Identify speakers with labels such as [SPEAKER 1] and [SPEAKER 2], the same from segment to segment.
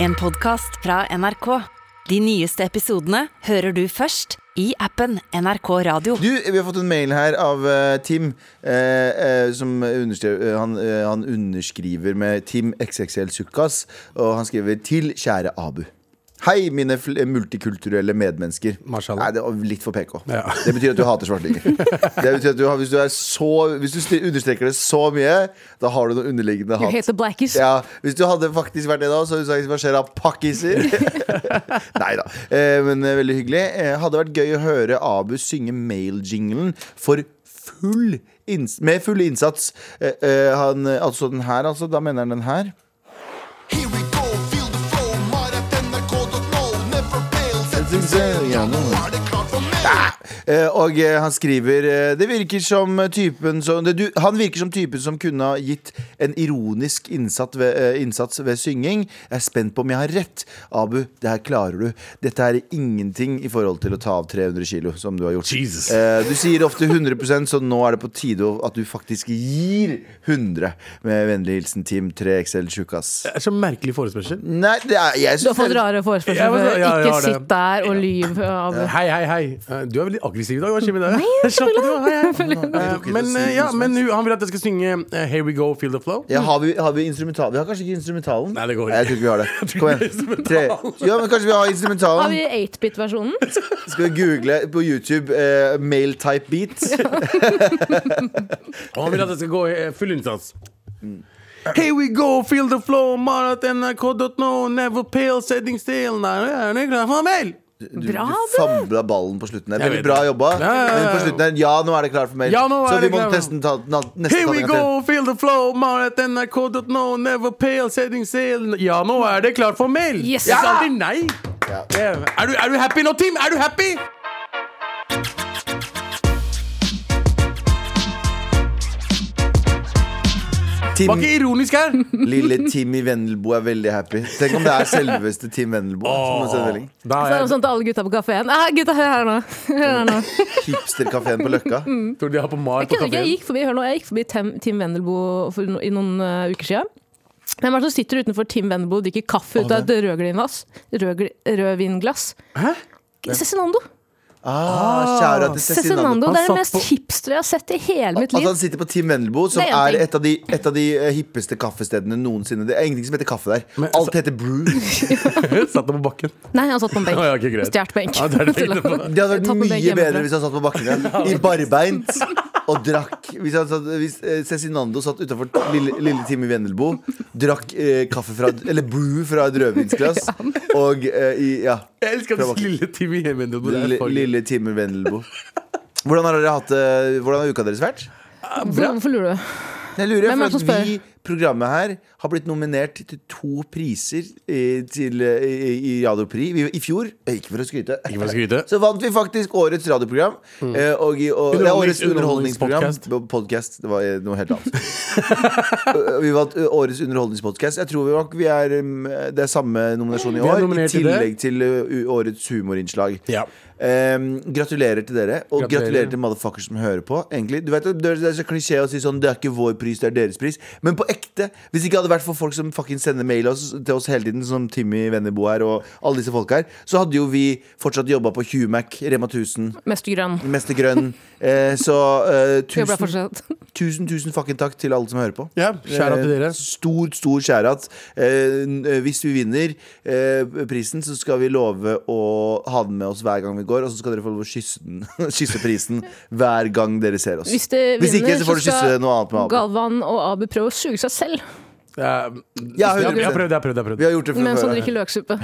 [SPEAKER 1] En podcast fra NRK. De nyeste episodene hører du først i appen NRK Radio.
[SPEAKER 2] Du, vi har fått en mail her av eh, Tim eh, eh, Som underskrev, eh, han, eh, han underskriver med Tim XXL Sukkas Og han skriver til kjære Abu Hei, mine fl- eh, multikulturelle medmennesker
[SPEAKER 3] Mashallah.
[SPEAKER 2] Nei, det var litt for PK
[SPEAKER 3] Ja.
[SPEAKER 2] Det betyr at du hater svartlinger Det betyr at du, har- hvis du, er så, hvis du stre- understreker det så mye Da har du noe underliggende
[SPEAKER 4] You
[SPEAKER 2] hat
[SPEAKER 4] hate the blackies.
[SPEAKER 2] ja, Hvis du hadde faktisk vært det da, så hadde du sagt hva skjer da, pakkiser? Nei da. Eh, men eh, veldig hyggelig. Eh, hadde vært gøy å høre Abu synge mailjinglen for full inns med full innsats. Eh, eh, han, eh, altså den her, altså. Da mener han den her.
[SPEAKER 5] Here we go, feel the flow, mad at NRK.no, never fail, send
[SPEAKER 2] Send signal, ja, nå.
[SPEAKER 5] Er det klart for
[SPEAKER 6] Ah.
[SPEAKER 5] mer?
[SPEAKER 2] Eh, og eh, han skriver eh, Det virker som typen som det, du, Han virker som typen som kunne ha gitt en ironisk innsatt ved, eh, innsats ved synging. Jeg er spent på om jeg har rett. Abu, det her klarer du. Dette er ingenting i forhold til å ta av 300 kilo, som du har gjort.
[SPEAKER 3] Jesus.
[SPEAKER 2] Eh, du sier ofte 100 så nå er det på tide at du faktisk gir 100. Med vennlig hilsen Team 3XL Tjukkas.
[SPEAKER 3] Det er så merkelig forespørsel.
[SPEAKER 2] Nei, det er, jeg
[SPEAKER 4] Du har
[SPEAKER 2] det
[SPEAKER 4] fått
[SPEAKER 2] er-
[SPEAKER 4] rare
[SPEAKER 3] Jeg
[SPEAKER 4] forespørsler.
[SPEAKER 3] må-
[SPEAKER 4] før.
[SPEAKER 3] ja, jeg har
[SPEAKER 4] Ikke
[SPEAKER 3] det.
[SPEAKER 4] sitt der og lyv. Av.
[SPEAKER 3] Hei, hei, hei. Eh, Du er veldig aggressiv i dag. Hva skjer med deg? Slapp av, du. Hei, hei.
[SPEAKER 2] Jeg tok
[SPEAKER 3] Eh,
[SPEAKER 2] ikke
[SPEAKER 3] Men,
[SPEAKER 2] til å si
[SPEAKER 3] eh, ja,
[SPEAKER 2] noe som
[SPEAKER 3] men hun- han vil at jeg skal synge eh, Here We Go, Feel the Flow.
[SPEAKER 2] Ja, har vi, har vi instrumental? Vi har kanskje ikke instrumentalen?
[SPEAKER 3] Mm. Nei, det går
[SPEAKER 2] Jeg tror ikke vi har det. Kom igjen. Tre. Ja, men kanskje vi har
[SPEAKER 4] Har
[SPEAKER 2] instrumentalen?
[SPEAKER 4] vi 8-bit-versjonen?
[SPEAKER 2] Skal vi google på YouTube eh, male type beat?
[SPEAKER 3] Og han vil at jeg skal gå i eh, full innsats. Mm. Here we go, feel the flow, Marat nrk.no, never pale, setting still. Nei, nå er det klar for mail!
[SPEAKER 2] Du,
[SPEAKER 4] Bra,
[SPEAKER 2] du
[SPEAKER 4] det.
[SPEAKER 2] famla ballen på slutten der.
[SPEAKER 3] Jeg
[SPEAKER 2] Veldig
[SPEAKER 3] vet
[SPEAKER 2] bra
[SPEAKER 3] det.
[SPEAKER 2] jobba.
[SPEAKER 3] Ja, ja, ja.
[SPEAKER 2] Men på slutten der, ja, nå er det klart for mail.
[SPEAKER 3] Ja, nå er
[SPEAKER 2] Så vi
[SPEAKER 3] det
[SPEAKER 2] må
[SPEAKER 3] klart.
[SPEAKER 2] nesten ta na, nesten
[SPEAKER 3] Here
[SPEAKER 2] ta
[SPEAKER 3] we
[SPEAKER 2] den etter.
[SPEAKER 3] go, feel the flow, Marat nrk.no, never pale, setting still. Ja, nå er det klart for mail!
[SPEAKER 4] Yes.
[SPEAKER 3] Jeg sa alltid nei.
[SPEAKER 2] Ja.
[SPEAKER 3] Det Er er du, er du happy nå, Tim? Er du happy? Var
[SPEAKER 2] Tim,
[SPEAKER 3] ikke ironisk her.
[SPEAKER 2] lille Tim i Vendelbo er veldig happy. Tenk om det er selveste Tim Vendelbo. som har sendt melding.
[SPEAKER 3] Da
[SPEAKER 4] Så er det sånn til alle gutta på kafeen. Ah, gutta, hør her nå. Hør her nå.
[SPEAKER 2] Hipsterkafeen på Løkka.
[SPEAKER 4] Mm.
[SPEAKER 3] Tror du de har på Mar
[SPEAKER 4] Jeg, kødder ikke, jeg gikk forbi, hør nå, jeg gikk forbi Tem, Team Vendelbo for, no- i noen eh, uker siden. Hvem er det som sitter utenfor Team Vendelbo og drikker kaffe ut av et rødglass? Rødgl- Rødvinglass.
[SPEAKER 3] Hæ?
[SPEAKER 4] Cezinando.
[SPEAKER 2] Ah, kjære til Cezinando.
[SPEAKER 3] Han
[SPEAKER 4] Cezinando. Det er
[SPEAKER 3] satt
[SPEAKER 4] det mest
[SPEAKER 3] på-
[SPEAKER 4] hipstere jeg har sett i hele
[SPEAKER 2] At
[SPEAKER 4] mitt liv.
[SPEAKER 2] han sitter på Team Vendelbo, som
[SPEAKER 4] Det er en
[SPEAKER 2] er
[SPEAKER 4] ting.
[SPEAKER 2] et av, de, et av de eh, hippeste kaffestedene noensinne. Det er ingenting som heter kaffe der.
[SPEAKER 3] Men- altså-
[SPEAKER 2] Alt heter brew.
[SPEAKER 3] Satt han på bakken?
[SPEAKER 4] Nei, han satt på en benk.
[SPEAKER 3] Å, ja, ok, greit.
[SPEAKER 4] Stjålet benk.
[SPEAKER 3] Ja, det er det jeg tenkte på.
[SPEAKER 2] Det hadde
[SPEAKER 4] Tatt
[SPEAKER 2] vært
[SPEAKER 4] med
[SPEAKER 2] mye
[SPEAKER 4] begge
[SPEAKER 2] bedre
[SPEAKER 4] hjemmefra.
[SPEAKER 2] hvis han satt på bakken der, i barbeint og drakk. Hvis, han satt, hvis eh, Cezinando satt utafor lille, lille Tim i Vendelbo, drakk eh, kaffe fra Eller brew fra et rødvinsglass, og eh, i Ja.
[SPEAKER 3] Jeg elsker
[SPEAKER 2] Fra
[SPEAKER 3] at
[SPEAKER 2] bakken.
[SPEAKER 3] lille Tim i hjemmet ditt, det er
[SPEAKER 2] Lille,
[SPEAKER 3] fucking-
[SPEAKER 2] lille Tim i Vendelbo. Hvordan har dere hatt eh, Hvordan har uka deres vært?
[SPEAKER 4] Hvor- Hvorfor lurer du?
[SPEAKER 2] Jeg lurer,
[SPEAKER 4] Hvem er det
[SPEAKER 2] for
[SPEAKER 4] som
[SPEAKER 2] at vi, programmet her, har blitt nominert til to priser i, til, eh, i, i Radiopri i, i fjor. eh, Ikke for å skryte.
[SPEAKER 3] Ikke for å skryte. Mm.
[SPEAKER 2] Så vant vi faktisk årets radioprogram. eh, Og, i- og, ja, årets
[SPEAKER 3] Underholdnings-
[SPEAKER 2] underholdningsprogram. Podkast. Det var eh, noe helt annet. Eh, vi vant eh, årets underholdningspodkast. Jeg tror vi, nok vi er um, Det er samme nominasjon i
[SPEAKER 3] Vi er
[SPEAKER 2] år. I
[SPEAKER 3] nominert til det.
[SPEAKER 2] tillegg til eh, u- årets humorinnslag.
[SPEAKER 3] Ja.
[SPEAKER 2] Ehm, gratulerer til dere, og gratulerer,
[SPEAKER 3] Gratulerer.
[SPEAKER 2] til motherfuckers som hører på. Egentlig, du vet at Det det er så klisjé å si sånn det er ikke vår pris, det er deres pris. Men på ekte, hvis det ikke hadde vært for folk som fucking sender mail oss, til oss hele tiden, som Timmy Vennebo her, og alle disse folka her, så hadde jo vi fortsatt jobba på Humac, Rema 1000,
[SPEAKER 4] Mest grønn.
[SPEAKER 2] Mester Grønn. Eh, så eh,
[SPEAKER 4] Jobber jeg
[SPEAKER 2] tusen,
[SPEAKER 4] fortsatt.
[SPEAKER 2] tusen, tusen fucking takk til alle som hører på.
[SPEAKER 3] Ja, kjære til dere.
[SPEAKER 2] Eh, Stor, stor kjærat. Eh, n- eh, hvis vi vinner eh, prisen, så skal vi love å ha den med oss hver gang vi går. Og så skal dere få lov å kysse, den, kysse prisen hver gang dere ser oss.
[SPEAKER 4] Hvis de
[SPEAKER 2] Hvis
[SPEAKER 4] vinner,
[SPEAKER 2] ikke, så får du
[SPEAKER 4] så skal
[SPEAKER 2] kysse noe annet med Abu.
[SPEAKER 4] Galvan og Abu prøve å suge seg selv
[SPEAKER 3] Ja,
[SPEAKER 2] Ja,
[SPEAKER 3] jeg har
[SPEAKER 2] 100%.
[SPEAKER 3] prøvd, jeg har prøvd. Jeg har prøvd.
[SPEAKER 2] Vi har gjort det for
[SPEAKER 4] mens han
[SPEAKER 2] før.
[SPEAKER 4] drikker løksuppe.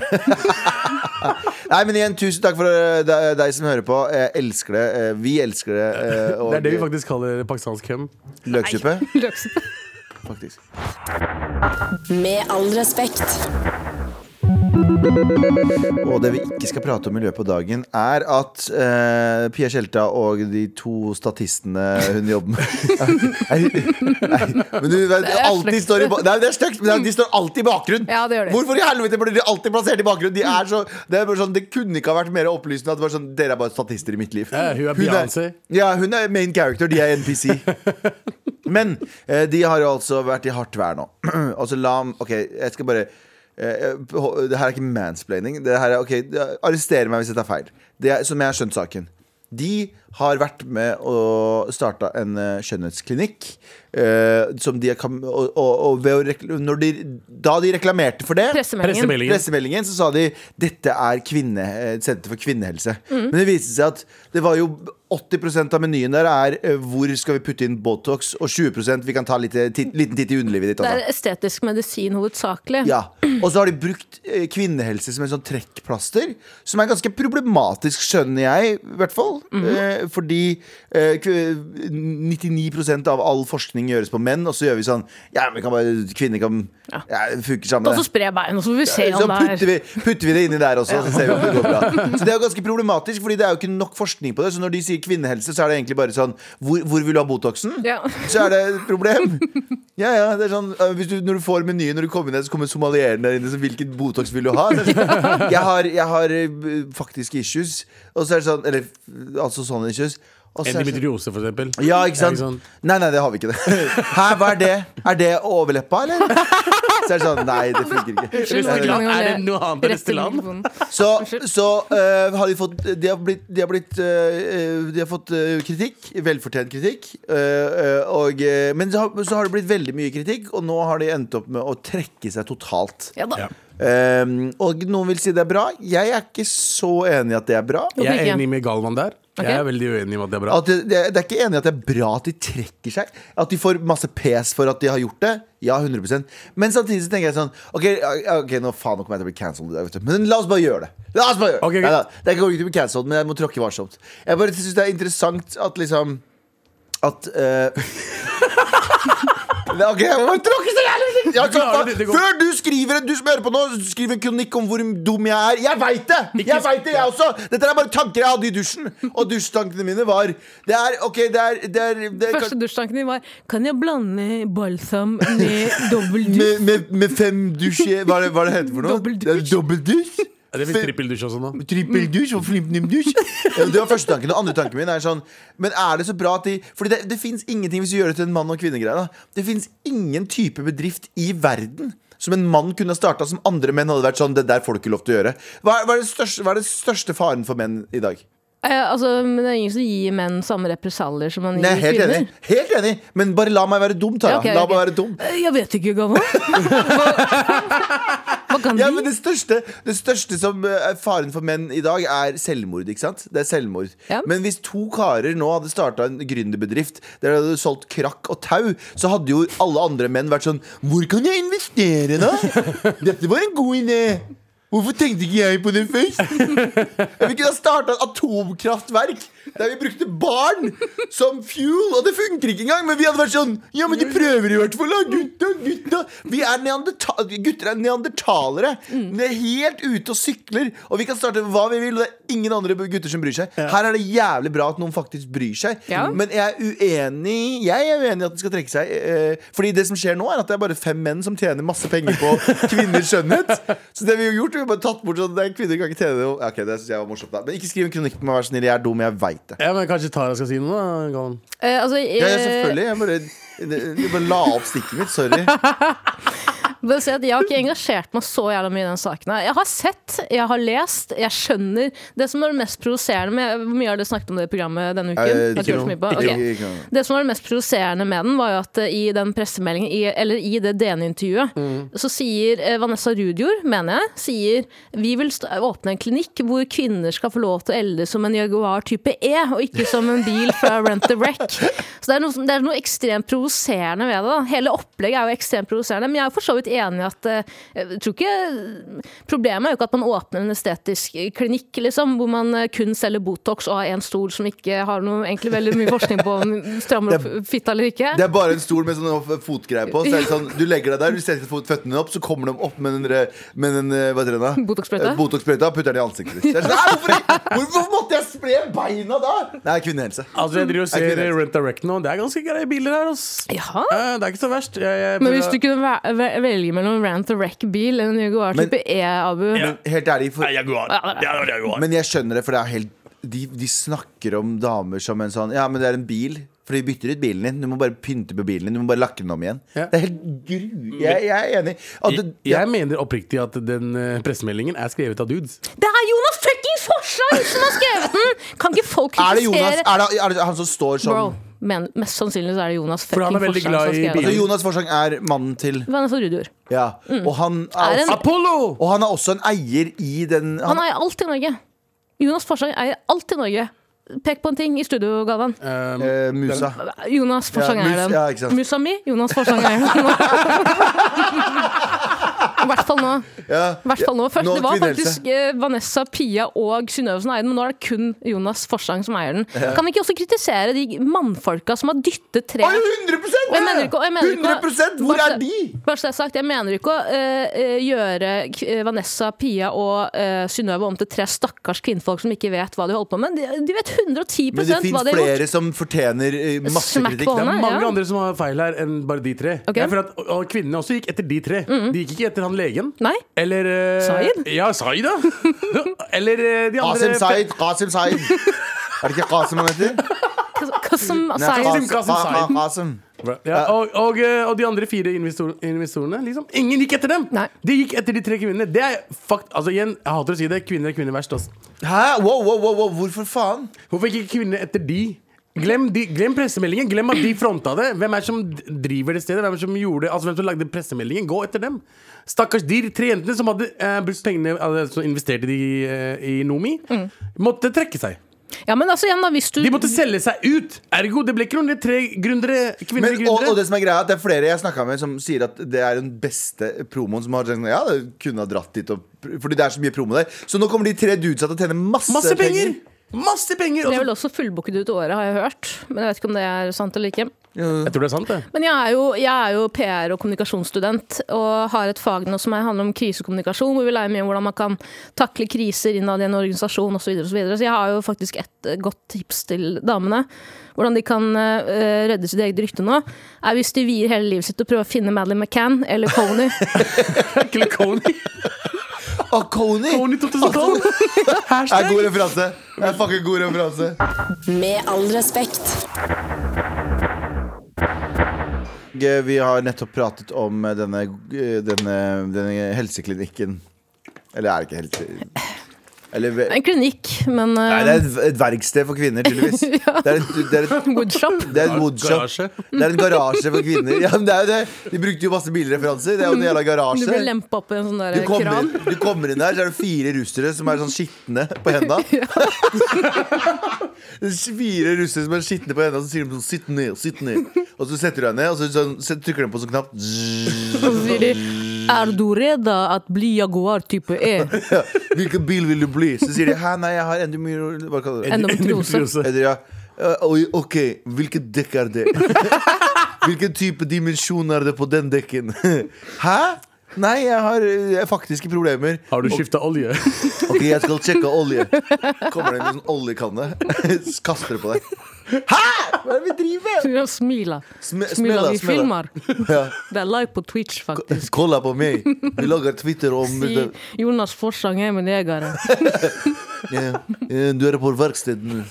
[SPEAKER 2] Nei, men igjen, tusen takk for eh, deg deg som hører på. Jeg elsker det. Eh, Vi elsker det. eh, Og
[SPEAKER 3] Det er det vi faktisk kaller pakistansk køm.
[SPEAKER 2] løksuppe,
[SPEAKER 4] løksuppe.
[SPEAKER 2] faktisk.
[SPEAKER 1] Med all respekt.
[SPEAKER 2] Og det vi ikke skal prate om i løpet av dagen, er at eh, Pia Tjelta og de to statistene hun jobber med nei, nei, Men du vet, de
[SPEAKER 4] er
[SPEAKER 2] alltid
[SPEAKER 4] slekt.
[SPEAKER 2] står i ba- Nei, det er stygt, men de står alltid i bakgrunn.
[SPEAKER 4] Ja, det gjør de.
[SPEAKER 2] Hvorfor i helvete blir de alltid plassert i bakgrunn? De er så, det, er bare sånn, det kunne ikke ha vært mer opplysende at det var sånn, dere er bare statister i mitt liv.
[SPEAKER 3] Ja, hun er Beyoncé.
[SPEAKER 2] Ja, hun er main character, de er NPC. Men eh, de har jo altså vært i hardt vær nå. altså la Ok, jeg skal bare eh, på- Det her er ikke mansplaining. Det her er, ok, Arrester meg hvis jeg tar feil. Det er, som jeg har skjønt saken. De har vært med og starta en eh, skjønnhetsklinikk. Eh, som de kan, og, og, og ved å rekl når de, da de reklamerte for det
[SPEAKER 4] Pressemeldingen.
[SPEAKER 3] Pressemelding.
[SPEAKER 2] pressemeldingen så sa de dette er kvinne, et senter for kvinnehelse. Men det viste seg at det var jo 80 av menyen der er eh, hvor skal vi putte inn Botox, og 20 vi kan ta litt, titt, liten titt i underlivet ditt.
[SPEAKER 4] Det
[SPEAKER 2] Altså.
[SPEAKER 4] er estetisk medisin hovedsakelig.
[SPEAKER 2] Ja. Og så har de brukt eh, kvinnehelse som en sånn trekkplaster, som er ganske problematisk, skjønner jeg, i hvert fall.
[SPEAKER 4] Mhm.
[SPEAKER 2] eh, fordi eh, kv- 99 av all forskning gjøres på menn, og så gjør vi sånn Ja, men vi kan bare Kvinner kan ja. funker sammen.
[SPEAKER 4] Og så sprer jeg bein, og så får vi se
[SPEAKER 2] Så
[SPEAKER 4] om det
[SPEAKER 2] putter
[SPEAKER 4] er
[SPEAKER 2] vi, putter vi det inni der også, så ser vi om det går bra. Så Det er jo ganske problematisk, Fordi det er jo ikke nok forskning på det. Så når de sier kvinnehelse, så er det egentlig bare sånn Hvor, hvor vil du ha Botoxen?
[SPEAKER 4] Ja.
[SPEAKER 2] så er det et problem. Ja, ja, det er sånn øh, hvis du, Når du får menyen når du kommer ned, så kommer somalieren der inne. Så hvilken Botox vil du ha? Så er det sånn, Jeg har, jeg har øh, faktiske issues. Og så er det sånn Eller øh, altså sånne issues. Og så er det sånn,
[SPEAKER 3] Endometriose, for eksempel.
[SPEAKER 2] ja, ikke sant?
[SPEAKER 3] sånn-
[SPEAKER 2] Nei, nei, det har vi ikke. det Hæ, hva er det? Er det overleppa, eller? Så er det sånn Nei, det funker ikke.
[SPEAKER 4] Unnskyld,
[SPEAKER 3] Er det
[SPEAKER 4] Morgan,
[SPEAKER 3] noe
[SPEAKER 4] jeg-
[SPEAKER 3] annet på
[SPEAKER 4] rett til
[SPEAKER 3] Resteland?
[SPEAKER 4] mikrofonen.
[SPEAKER 2] Så, så øh, har de fått De har blitt, de har blitt øh, øh, De har fått øh, kritikk, velfortjent kritikk øh, øh, og, øh, Men så har, så har det blitt veldig mye kritikk Og nå har de endt opp med å trekke seg totalt
[SPEAKER 4] Ja da.
[SPEAKER 3] Ja.
[SPEAKER 2] Ehm, Og noen vil si det er bra Jeg er ikke så enig i at det er bra
[SPEAKER 4] Hvorfor
[SPEAKER 3] Jeg er
[SPEAKER 4] ikke?
[SPEAKER 3] enig med Galvan der. Jeg er veldig uenig med at det er bra.
[SPEAKER 2] at det, det, det er ikke enig i at det er bra at de trekker seg At de får masse pes for at de har gjort det Ja, 100% Men samtidig så tenker jeg sånn Ok, ok, nå faen nå kommer jeg til å bli cancelled i dag, vet du. Men la oss bare gjøre det La oss bare gjøre det
[SPEAKER 3] Ok, ok.
[SPEAKER 2] Neida, Det kommer ikke til å bli cancelled, men jeg må tråkke varsomt Jeg bare synes det er interessant at liksom At eh, Nei, Ok, jeg må bare tråkke så jævlig ja, så
[SPEAKER 3] klarer det,
[SPEAKER 2] faen,
[SPEAKER 3] det går.
[SPEAKER 2] Før du skriver Du som hører på nå Skriver en kronikk om hvor dum jeg er Jeg vet det Jeg vet det jeg også Dette er bare tanker jeg hadde i dusjen Og dusjtankene mine var Det er, ok, det er, det er, det er
[SPEAKER 4] Første dusjtanken din var Kan jeg blande balsam med dobbel dusj?
[SPEAKER 2] med, med, med fem dusjer Hva er det, hva er det heter for noe?
[SPEAKER 4] Dobbeldusj.
[SPEAKER 2] Det er dobbeldusj?
[SPEAKER 3] Er det finnes trippeldusj også nå.
[SPEAKER 2] Trippeldusj og flimpnimdusj. Ja, det var første tanken. Og andre tanken min er sånn Men er det så bra at de Fordi det, det fins ingenting, hvis vi gjør det til en mann og kvinne-greie, da. Det fins ingen type bedrift i verden som en mann kunne ha starta, som andre menn hadde vært sånn Det der får du ikke lov til å gjøre. Hva er, hva er, det, største, hva er det største faren for menn i dag?
[SPEAKER 4] Eh, altså, men det er ingen som gir menn samme represalier som man
[SPEAKER 2] Nei,
[SPEAKER 4] gir
[SPEAKER 2] helt enig.
[SPEAKER 4] kvinner.
[SPEAKER 2] Helt enig. Men bare la meg være dum, Tara.
[SPEAKER 4] Ja, ok,
[SPEAKER 2] La
[SPEAKER 4] ok.
[SPEAKER 2] meg være dum.
[SPEAKER 4] Eh, Jeg vet ikke, Gamma. Hva, hva kan
[SPEAKER 2] Ja,
[SPEAKER 4] de?
[SPEAKER 2] men det største, det største som eh, er faren for menn i dag, er selvmord. ikke sant? Det er selvmord.
[SPEAKER 4] Ja.
[SPEAKER 2] Men hvis to karer nå hadde starta en gründerbedrift der de hadde solgt krakk og tau, så hadde jo alle andre menn vært sånn Hvor kan jeg investere, da? Dette var en god idé. Hvorfor tenkte ikke jeg på det først? Vi kunne ha starta et atomkraftverk der vi brukte barn som fuel, og det funker ikke engang. Men vi hadde vært sånn Ja, men de prøver i hvert fall, da. Gutta, gutta. Vi er neanderta gutter er neandertalere. Vi er helt ute og sykler, og vi kan starte hva vi vil, og det er ingen andre gutter som bryr seg. Her er det jævlig bra at noen faktisk bryr seg,
[SPEAKER 4] Ja.
[SPEAKER 2] men jeg er uenig Jeg er uenig i at den skal trekke seg. eh, Fordi det som skjer nå, er at det er bare fem menn som tjener masse penger på kvinners skjønnhet. Så det vi har gjort, vi har bare tatt bort sånn at kvinner kan ikke tjene det. Ja, Ok, det synes jeg var morsomt da Men ikke skriv en kronikk på meg, vær så snill. Jeg er dum, jeg veit det.
[SPEAKER 3] Ja, men Kanskje Tara skal si noe, da? Galvan?
[SPEAKER 4] Eh, altså, jeg,
[SPEAKER 2] Ja, ja, selvfølgelig. Jeg bare, jeg bare la opp stikket mitt. Sorry.
[SPEAKER 4] Bare si at jeg har ikke engasjert meg så jævla mye i den saken. her. Jeg har sett, jeg har lest, jeg skjønner. Det som var det mest provoserende med Hvor mye har dere snakket om det i programmet denne uken?
[SPEAKER 2] Eh,
[SPEAKER 4] Har
[SPEAKER 2] ikke
[SPEAKER 4] dere hørt så
[SPEAKER 2] noe.
[SPEAKER 4] mye på?
[SPEAKER 2] Ikke-
[SPEAKER 4] Ok.
[SPEAKER 2] ikke noe.
[SPEAKER 4] Det som var det mest provoserende med den, var jo at eh, i den pressemeldingen, i, eller i det DN-intervjuet,
[SPEAKER 2] Mm.
[SPEAKER 4] så sier eh, Vanessa Rudjord, mener jeg, sier vi vil st åpne en klinikk hvor kvinner skal få lov til å elde som en Jaguar type E, og ikke som en bil fra Rent the Wreck. Så det er noe, som- det er noe ekstremt provoserende ved det. da. Hele opplegget er jo ekstremt provoserende, men jeg er jo for så vidt enig i at eh, jeg tror ikke Problemet er jo ikke at man åpner en estetisk klinikk liksom, hvor man eh, kun selger Botox og har en stol som ikke har noe egentlig veldig mye forskning på om strammer opp fitta eller ikke.
[SPEAKER 2] Det er bare en stol med sånn fotgreie på. Så er det sånn, du legger deg der, du setter fot- føttene dine opp, så kommer de opp med en, re- med en eh, hva heter den da?
[SPEAKER 4] Botox-sprøyte.
[SPEAKER 2] Botox-sprøyta og putter den i ansiktet ditt. Så er det Sånn, «Nei, hvorfor, ikke? hvorfor måtte jeg spre beina da? Nei, kvinnehelse.
[SPEAKER 3] Altså, jeg driver og
[SPEAKER 2] Jeg
[SPEAKER 3] ser
[SPEAKER 2] kunne-
[SPEAKER 3] Rent Direct nå. Det er ganske greie biler her, ass.
[SPEAKER 4] Ja.
[SPEAKER 3] Eh, Det er ikke så verst. Jeg, jeg,
[SPEAKER 4] Men hvis du kunne væ- væ- velge mellom rant og wreck-bil eller en Jaguar type E, Abu
[SPEAKER 3] Ja.
[SPEAKER 2] Helt ærlig, for,
[SPEAKER 3] Nei, Jaguar. Det er Jaguar.
[SPEAKER 2] men jeg skjønner det, for det er helt de, de snakker om damer som en sånn Ja, men det er en bil. For de bytter ut bilen din. Du må bare pynte på bilen din. Du må bare lakke den om igjen.
[SPEAKER 3] Ja.
[SPEAKER 2] Det er helt gru... Jeg, jeg er enig. At det,
[SPEAKER 3] Jeg mener oppriktig at den eh, pressemeldingen er skrevet av dudes.
[SPEAKER 4] Det er Jonas fuckings Forslag som har skrevet den! Kan ikke folk
[SPEAKER 2] er det Jonas?
[SPEAKER 4] kritisere
[SPEAKER 2] Er det, er det han som står
[SPEAKER 4] Bro,
[SPEAKER 2] sånn?
[SPEAKER 4] men mest sannsynlig så er det Jonas
[SPEAKER 3] For han
[SPEAKER 4] fucking
[SPEAKER 3] er veldig
[SPEAKER 4] Forslag som
[SPEAKER 3] glad
[SPEAKER 4] har
[SPEAKER 3] i
[SPEAKER 4] skrevet
[SPEAKER 3] biler.
[SPEAKER 2] Så
[SPEAKER 4] den.
[SPEAKER 2] Altså, Jonas Forsang er mannen til
[SPEAKER 4] Vanessa Rudjord.
[SPEAKER 2] Ja. Og, han
[SPEAKER 4] Mm. Er
[SPEAKER 2] er
[SPEAKER 4] en-
[SPEAKER 2] også,
[SPEAKER 3] Apollo!
[SPEAKER 2] og han er også en eier i den
[SPEAKER 4] Han
[SPEAKER 2] han,
[SPEAKER 4] eier alt i Norge. Jonas Forsang eier alt i Norge. Pek på en ting i studio, Galvan.
[SPEAKER 3] Um,
[SPEAKER 2] eh, musa.
[SPEAKER 4] Jonas Forsang
[SPEAKER 2] Ja,
[SPEAKER 4] eier
[SPEAKER 2] mus-
[SPEAKER 4] den.
[SPEAKER 2] ja, ikke sant.
[SPEAKER 4] Musa mi, Jonas Forsang eier den. I hvert fall nå.
[SPEAKER 2] Ja.
[SPEAKER 4] I hvert fall nå. Først,
[SPEAKER 2] Nå
[SPEAKER 4] det var
[SPEAKER 2] kvinnehelse.
[SPEAKER 4] faktisk eh, Vanessa, Pia og Synnøve som eide den, men nå er det kun Jonas Forsang som eier den. Kan vi ikke også kritisere de mannfolka som har dyttet tre
[SPEAKER 2] Å, jo, 100
[SPEAKER 4] Og jeg mener ikke- og jeg mener ikke-
[SPEAKER 2] 100 Hvor
[SPEAKER 4] Bare
[SPEAKER 2] er
[SPEAKER 4] så-
[SPEAKER 2] de?
[SPEAKER 4] Bare så det er sagt, jeg mener ikke å eh, eh, gjøre k- eh, Vanessa, Pia og uh, Synnøve om til tre stakkars kvinnfolk som ikke vet hva de holder på med. De, de vet 110
[SPEAKER 2] Men det
[SPEAKER 4] hva
[SPEAKER 2] fins
[SPEAKER 4] de har gjort.
[SPEAKER 2] flere som fortjener eh, masse
[SPEAKER 4] Smack
[SPEAKER 2] kritikk.
[SPEAKER 4] på
[SPEAKER 2] Det er
[SPEAKER 4] hånda.
[SPEAKER 3] Det er mange
[SPEAKER 4] ja.
[SPEAKER 3] andre som har feil her enn bare de tre.
[SPEAKER 4] Ok. Mm-hmm.
[SPEAKER 3] Jeg føler at og- og Kvinnene også gikk etter de tre. De gikk ikke etter han legen.
[SPEAKER 4] Nei.
[SPEAKER 3] Eller eh,
[SPEAKER 4] Said?
[SPEAKER 3] Ja, Said, da. Eller eh, de andre
[SPEAKER 2] Qasim Zaid, Qasim Zaid. Er det ikke Qasim han heter?
[SPEAKER 4] Hva- hva som- altså,
[SPEAKER 2] Nei, altså,
[SPEAKER 4] Said-
[SPEAKER 2] Qasim,
[SPEAKER 3] Qasim
[SPEAKER 2] Qa-
[SPEAKER 3] Zaid.
[SPEAKER 2] Qa- Qasim.
[SPEAKER 3] ja, og, og, eh, og de andre fire investor, investorene. Liksom. Ingen gikk etter dem!
[SPEAKER 4] Nei.
[SPEAKER 3] De gikk etter de tre kvinnene. Det er fucked. Altså, igjen, jeg hater å si det. Kvinner er kvinner verst. ass.
[SPEAKER 2] Hæ? Wow, wow, wow, wow. Hvorfor faen?
[SPEAKER 3] Hvorfor gikk ikke kvinnene etter de? Glem, de, glem pressemeldingen. Glem at de fronta det. Hvem er det som d- driver det stedet? Hvem er det som gjorde det? Altså, hvem som lagde pressemeldingen? Gå etter dem. Stakkars de tre jentene som hadde eh, brukt pengene altså, som investerte de, eh, i Nomi,
[SPEAKER 4] Mm.
[SPEAKER 3] måtte trekke seg.
[SPEAKER 4] Ja, men altså igjen da, hvis du
[SPEAKER 3] De måtte selge seg ut! Ergo, det ble ikke noen tre gründere. Kvinner
[SPEAKER 2] Men, og, og
[SPEAKER 3] gründere.
[SPEAKER 2] det som er greia er at det er flere jeg snakka med, som sier at det er den beste promoen som har sånn, Ja, det kunne ha dratt dit og Fordi det er så mye promo der. Så nå kommer de tre dudesa til å tjene masse,
[SPEAKER 3] Masse penger! Masse penger!
[SPEAKER 4] Det er
[SPEAKER 3] Og så-
[SPEAKER 4] vel også fullbooket ut året, har jeg hørt. Men jeg vet ikke om det er sant eller ikke.
[SPEAKER 3] Jeg tror det er sant, det.
[SPEAKER 4] Men jeg er jo, jeg er jo PR- og kommunikasjonsstudent, og har et fag nå som er- handler om krisekommunikasjon, hvor vi lærer mye om hvordan man kan takle kriser innad i en organisasjon osv. Så, videre, og så, videre. så jeg har jo faktisk et eh, godt tips til damene. Hvordan de kan eh, redde sitt eget rykte nå, er hvis de vier hele livet sitt til å prøve å finne Madeleine McCann eller Coney.
[SPEAKER 3] Ekle Kony.
[SPEAKER 2] Og Kony!
[SPEAKER 3] Kony 2012.
[SPEAKER 2] Det er god referanse. Det er fucking god referanse.
[SPEAKER 7] Med all respekt.
[SPEAKER 2] eh, Vi har nettopp pratet om eh, denne, denne, denne helseklinikken. Eller er det ikke helse... Eller eh,
[SPEAKER 4] En klinikk, men
[SPEAKER 2] Nei,
[SPEAKER 4] eh,
[SPEAKER 2] det er et, et verksted for kvinner, tydeligvis. Det er et, det er et
[SPEAKER 4] Woodshop.
[SPEAKER 2] det er en
[SPEAKER 3] Garasje.
[SPEAKER 2] woodshop. Det er en garasje for kvinner. Ja, men det er jo det. De brukte jo masse bilreferanser. Det er jo en jævla
[SPEAKER 4] Du blir
[SPEAKER 2] garasje.
[SPEAKER 4] lempa opp i en sånn
[SPEAKER 2] Du
[SPEAKER 4] der
[SPEAKER 2] kommer,
[SPEAKER 4] kran.
[SPEAKER 2] inn, du kommer inn der, så er det fire russere som er sånn skitne på henda. fire russere som er skitne på henda, så sier de sånn 'sitt ned, sitt ned'. Og så setter du deg ned, og så sånn, så trykker de på en sånn knapp.
[SPEAKER 4] Og så sier de Er du redd at bli Jaguar type E?
[SPEAKER 2] Ja. 'Hvilken bil vil du bli?' Så sier de 'hæ, nei, jeg har endomyro... Hva kaller du det?
[SPEAKER 4] Endometriose.
[SPEAKER 3] Endometriose.
[SPEAKER 2] Eller ja «Eh, oi, Ok, hvilket dekk er det? Hvilken type dimensjon er det på den dekken? Hæ? Nei, jeg har eh, faktiske problemer.
[SPEAKER 3] Har du skifta olje?
[SPEAKER 2] Ok, jeg skal sjekke olje. Kommer det en sånn oljekanne, kaster det på deg. Hæ?! Hva er det vi driver med?
[SPEAKER 4] Ja, Smila.
[SPEAKER 2] Sm-
[SPEAKER 4] Smila, vi
[SPEAKER 2] smella.
[SPEAKER 4] filmer.
[SPEAKER 2] Ja.
[SPEAKER 4] Det er live på Twitch, faktisk.
[SPEAKER 2] Kolla på meg. Vi lager Twitter om
[SPEAKER 4] Si Jonas Forsang er min jeger.
[SPEAKER 2] Ja, eh, Du er på verksted nå.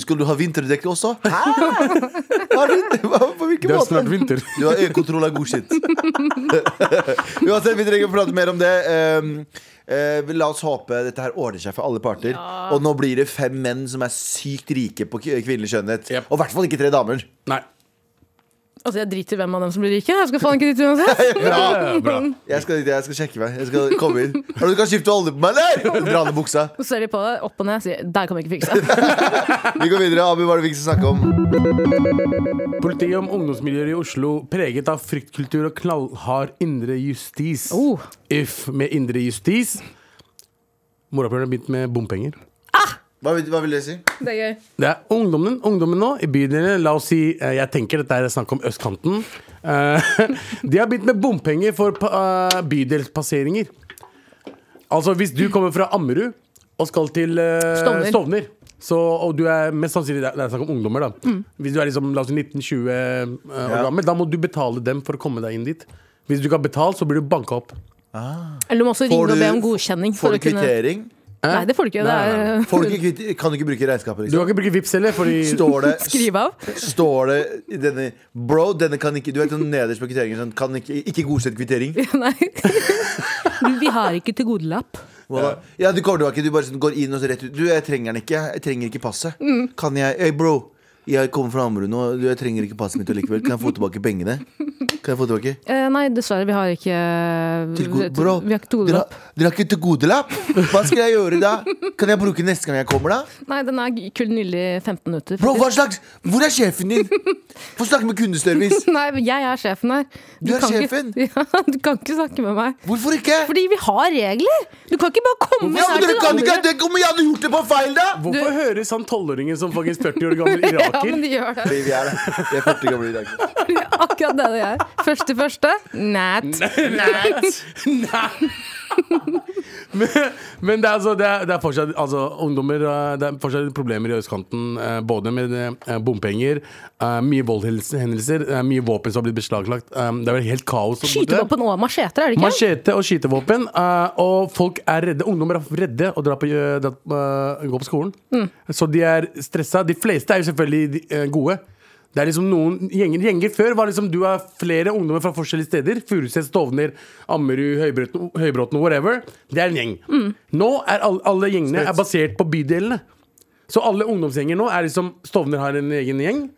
[SPEAKER 2] Skal du ha vinterdekk også? Hæ? Har du, hva- på hvilken
[SPEAKER 3] Det er
[SPEAKER 2] måte?
[SPEAKER 3] snart vinter.
[SPEAKER 2] Du har e-kontroll er godkjent. Uansett, vi trenger å prate mer om det. Um, eh, la oss håpe dette her ordner seg for alle parter. Og nå blir det fem menn som er sykt rike på k- kvinnelig skjønnhet.
[SPEAKER 3] Yep.
[SPEAKER 2] Og i hvert fall ikke tre damer.
[SPEAKER 3] Nei.
[SPEAKER 4] Altså, jeg driter i hvem av dem som blir rike. Jeg skal faen ikke dit uansett.
[SPEAKER 3] Bra. Bra.
[SPEAKER 2] Jeg skal, jeg skal sjekke meg. Jeg skal komme inn. Har du kan skifte olje på meg, eller? Dra ned buksa.
[SPEAKER 4] Så ser de på deg opp og ned og sier 'der kan vi ikke fikse'.
[SPEAKER 2] Vi går videre. Abu, hva er det vi ikke skal snakke om?
[SPEAKER 3] Politiet om ungdomsmiljøer i Oslo preget av fryktkultur og knallhard indre justis.
[SPEAKER 4] Oh.
[SPEAKER 3] If med indre justis. Morapuleren har begynt med bompenger.
[SPEAKER 2] Hva, vil- hva vil det si?
[SPEAKER 4] Det er gøy.
[SPEAKER 3] Det er ungdommen, ungdommen nå i bydelene. La oss si eh, Jeg tenker dette er snakk om østkanten. Eh, De har begynt med bompenger for pa- eh, bydelspasseringer. Altså hvis du kommer fra Ammerud og skal til eh,
[SPEAKER 4] Stovner.
[SPEAKER 3] Stovner så, og du er mest sannsynlig Det er det er snakk om ungdommer, da.
[SPEAKER 4] Mm.
[SPEAKER 3] Hvis du er liksom, la oss si 19-20 eh, år
[SPEAKER 2] Ja.
[SPEAKER 3] gammel, da må du betale dem for å komme deg inn dit. Hvis du ikke har betalt, så blir du banka opp.
[SPEAKER 4] Eller du må
[SPEAKER 2] Får
[SPEAKER 4] også ringe og
[SPEAKER 2] du-
[SPEAKER 4] be om godkjenning.
[SPEAKER 2] Får du
[SPEAKER 4] For å kunne...
[SPEAKER 2] kvittering?
[SPEAKER 4] Nei, det får du ikke. Det
[SPEAKER 3] Nei, nei,
[SPEAKER 4] er
[SPEAKER 2] Får du ikke kvitt, kan du ikke bruke regnskapet,
[SPEAKER 3] Du
[SPEAKER 2] liksom?
[SPEAKER 3] kan ikke bruke Vipps heller, fordi
[SPEAKER 2] Står det,
[SPEAKER 4] Skriv av.
[SPEAKER 2] står det i denne Bro, denne kan ikke Du vet sånn nederst på kvitteringen sånn, kan ikke, ikke godkjent kvittering.
[SPEAKER 4] Nei. Du, vi har ikke til gode lapp.
[SPEAKER 2] Ja, ja du, kommer, du, har ikke, du bare sånn, går inn og så rett ut. Du, jeg trenger den ikke. Jeg trenger ikke passet.
[SPEAKER 4] Mm.
[SPEAKER 2] Kan jeg Øy, bro. Jeg kommer fra Ammerud nå. Du, jeg trenger ikke passet mitt allikevel. Kan jeg få tilbake pengene? Kan jeg få tilbake?
[SPEAKER 4] Eh, nei, dessverre. Vi har ikke
[SPEAKER 2] Til god- Bro,
[SPEAKER 4] Vi har ikke til gode
[SPEAKER 2] dere
[SPEAKER 4] lapp.
[SPEAKER 2] dere har ikke til godelapp? Hva skal jeg gjøre da? Kan jeg bruke neste gang jeg kommer, da?
[SPEAKER 4] Nei, den er g- kun nylig 15 minutter.
[SPEAKER 2] Bro, hva
[SPEAKER 4] faktisk.
[SPEAKER 2] slags Hvor er sjefen din? Få snakke med kundeservice.
[SPEAKER 4] Nei, jeg er sjefen her.
[SPEAKER 2] Du er
[SPEAKER 4] kan
[SPEAKER 2] sjefen?
[SPEAKER 4] Ikke, ja, du kan ikke snakke med meg.
[SPEAKER 2] Hvorfor ikke?
[SPEAKER 4] Fordi vi har regler! Du kan ikke bare komme
[SPEAKER 2] Ja, men
[SPEAKER 4] her
[SPEAKER 2] dere
[SPEAKER 4] til
[SPEAKER 2] kan ikke
[SPEAKER 4] alle.
[SPEAKER 2] Tenk om jeg hadde gjort det på feil, da!
[SPEAKER 3] Hvorfor høres han tolvåringen som faktisk 40 år gammel
[SPEAKER 4] Ja, men
[SPEAKER 3] iraker?
[SPEAKER 4] de gjør det.
[SPEAKER 2] Fordi vi er det. Vi er 40 gamle i dag.
[SPEAKER 4] Akkurat det det er. Første første. Nat.
[SPEAKER 3] Nei. men, men det, er altså, det, er, det er fortsatt altså, ungdommer eh, Det er fortsatt problemer i østkanten, eh, både med eh, bompenger, eh, mye voldshendelser, eh, mye våpen som har blitt beslaglagt. Um, Det er vel helt kaos. der borte.
[SPEAKER 4] Skytevåpen og macheter, er det ikke?
[SPEAKER 3] Machete og skytevåpen. eh, og folk er redde. Ungdommer er redde å dra på, eh, dra, eh, gå på skolen.
[SPEAKER 2] Mm.
[SPEAKER 3] Så de er stressa. De fleste er jo selvfølgelig de, eh, gode. Det er liksom noen gjenger, gjenger før var liksom du er flere ungdommer fra forskjellige steder. Furuset, Stovner, Ammerud, Høybråten, Høybråten, whatever. Det er en gjeng.
[SPEAKER 2] Mm.
[SPEAKER 3] Nå er alle, alle gjengene er basert på bydelene. Så alle ungdomsgjenger nå er liksom Stovner har en egen gjeng.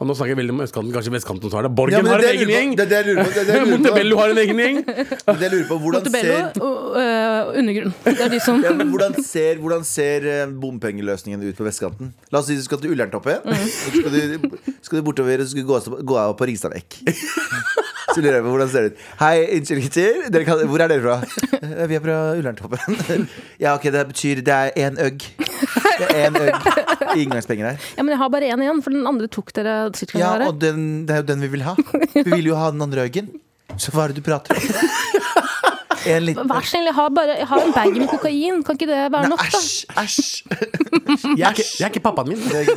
[SPEAKER 3] Og nå snakker jeg veldig om østkanten, kanskje vestkanten også har det. Borgen
[SPEAKER 2] Ja, men
[SPEAKER 3] har
[SPEAKER 2] det
[SPEAKER 3] en
[SPEAKER 2] er
[SPEAKER 3] egen
[SPEAKER 2] det jeg
[SPEAKER 3] gjeng.
[SPEAKER 2] lurer på. Det er det jeg lurer på. Det er det jeg lurer på.
[SPEAKER 3] Montebello har en egen gjeng.
[SPEAKER 2] Men jeg lurer på, hvordan
[SPEAKER 4] Montebello
[SPEAKER 2] ser
[SPEAKER 4] og øh, undergrunn. Det er de som
[SPEAKER 2] ja, men hvordan ser, hvordan ser eh, bompengeløsningen ut på vestkanten? La oss si du skal til Ullerntoppen. Så skal, du, skal du bortover og så skal du gå, av- gå av på Ringstadekk. Så lurer jeg på hvordan ser det ut. Hei, unnskyld gutter. Dere kan, hvor er dere fra? «Eh, Vi er fra Ullerntoppen. Ja, ok, det betyr det er én øgg. Det er én øgg i inngangspenger her.
[SPEAKER 4] Ja, men jeg har bare én igjen, for den andre tok dere. sikkert kan
[SPEAKER 2] Ja,
[SPEAKER 4] være.
[SPEAKER 2] og den, det er jo den vi vil ha. Vi vil jo ha den andre øggen. Så hva er det du prater om? En liten
[SPEAKER 4] Vær så snill, jeg har, bare, jeg har en bag med kokain. Kan ikke det være nok, da?
[SPEAKER 2] Æsj, æsj.
[SPEAKER 3] Jeg er, ikke, jeg er ikke pappaen min.
[SPEAKER 2] Jeg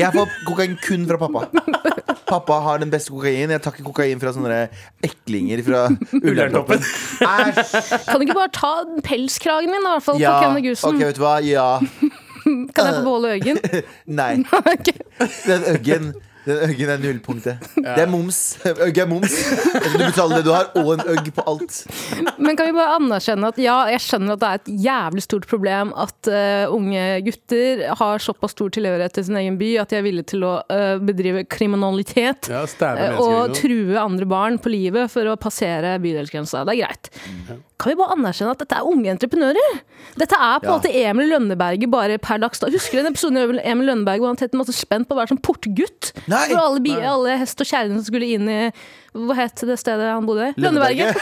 [SPEAKER 2] jeg får kokain kun fra pappa. Pappa har den beste kokain. Jeg tar ikke kokain fra sånne eklinger fra Ullerntoppen. Æsj!
[SPEAKER 4] Kan du ikke bare ta pelskragen min, i hvert fall?
[SPEAKER 2] Ja.
[SPEAKER 4] på Kenne Gusen?
[SPEAKER 2] Ok, vet du hva? Ja.
[SPEAKER 4] Kan jeg få beholde øyen?
[SPEAKER 2] Nei. Den øggen den øggen er nullpunktet. Det er moms. Øgg er moms. Du betaler det du har, og en øgg på alt.
[SPEAKER 4] Men kan vi bare anerkjenne at ja, jeg skjønner at det er et jævlig stort problem at eh, unge gutter har såpass stor tilhørighet til sin egen by at de er villige til å eh, bedrive kriminalitet
[SPEAKER 3] Ja, stabbe
[SPEAKER 4] eh,
[SPEAKER 3] mennesker
[SPEAKER 4] og
[SPEAKER 3] og
[SPEAKER 4] true andre barn på livet for å passere bydelsgrensa. Det er greit. Kan vi bare anerkjenne at dette er unge entreprenører? Dette er på en
[SPEAKER 2] Ja.
[SPEAKER 4] måte Emil Lønneberget bare per dags dag. Husker du den episoden av Emil Lønneberg hvor han tett masse spent på å være sånn portgutt?
[SPEAKER 2] Nei!
[SPEAKER 4] For alle, bi- alle hest og kjerringer som skulle inn i Hva het det stedet han bodde? Lønneberget.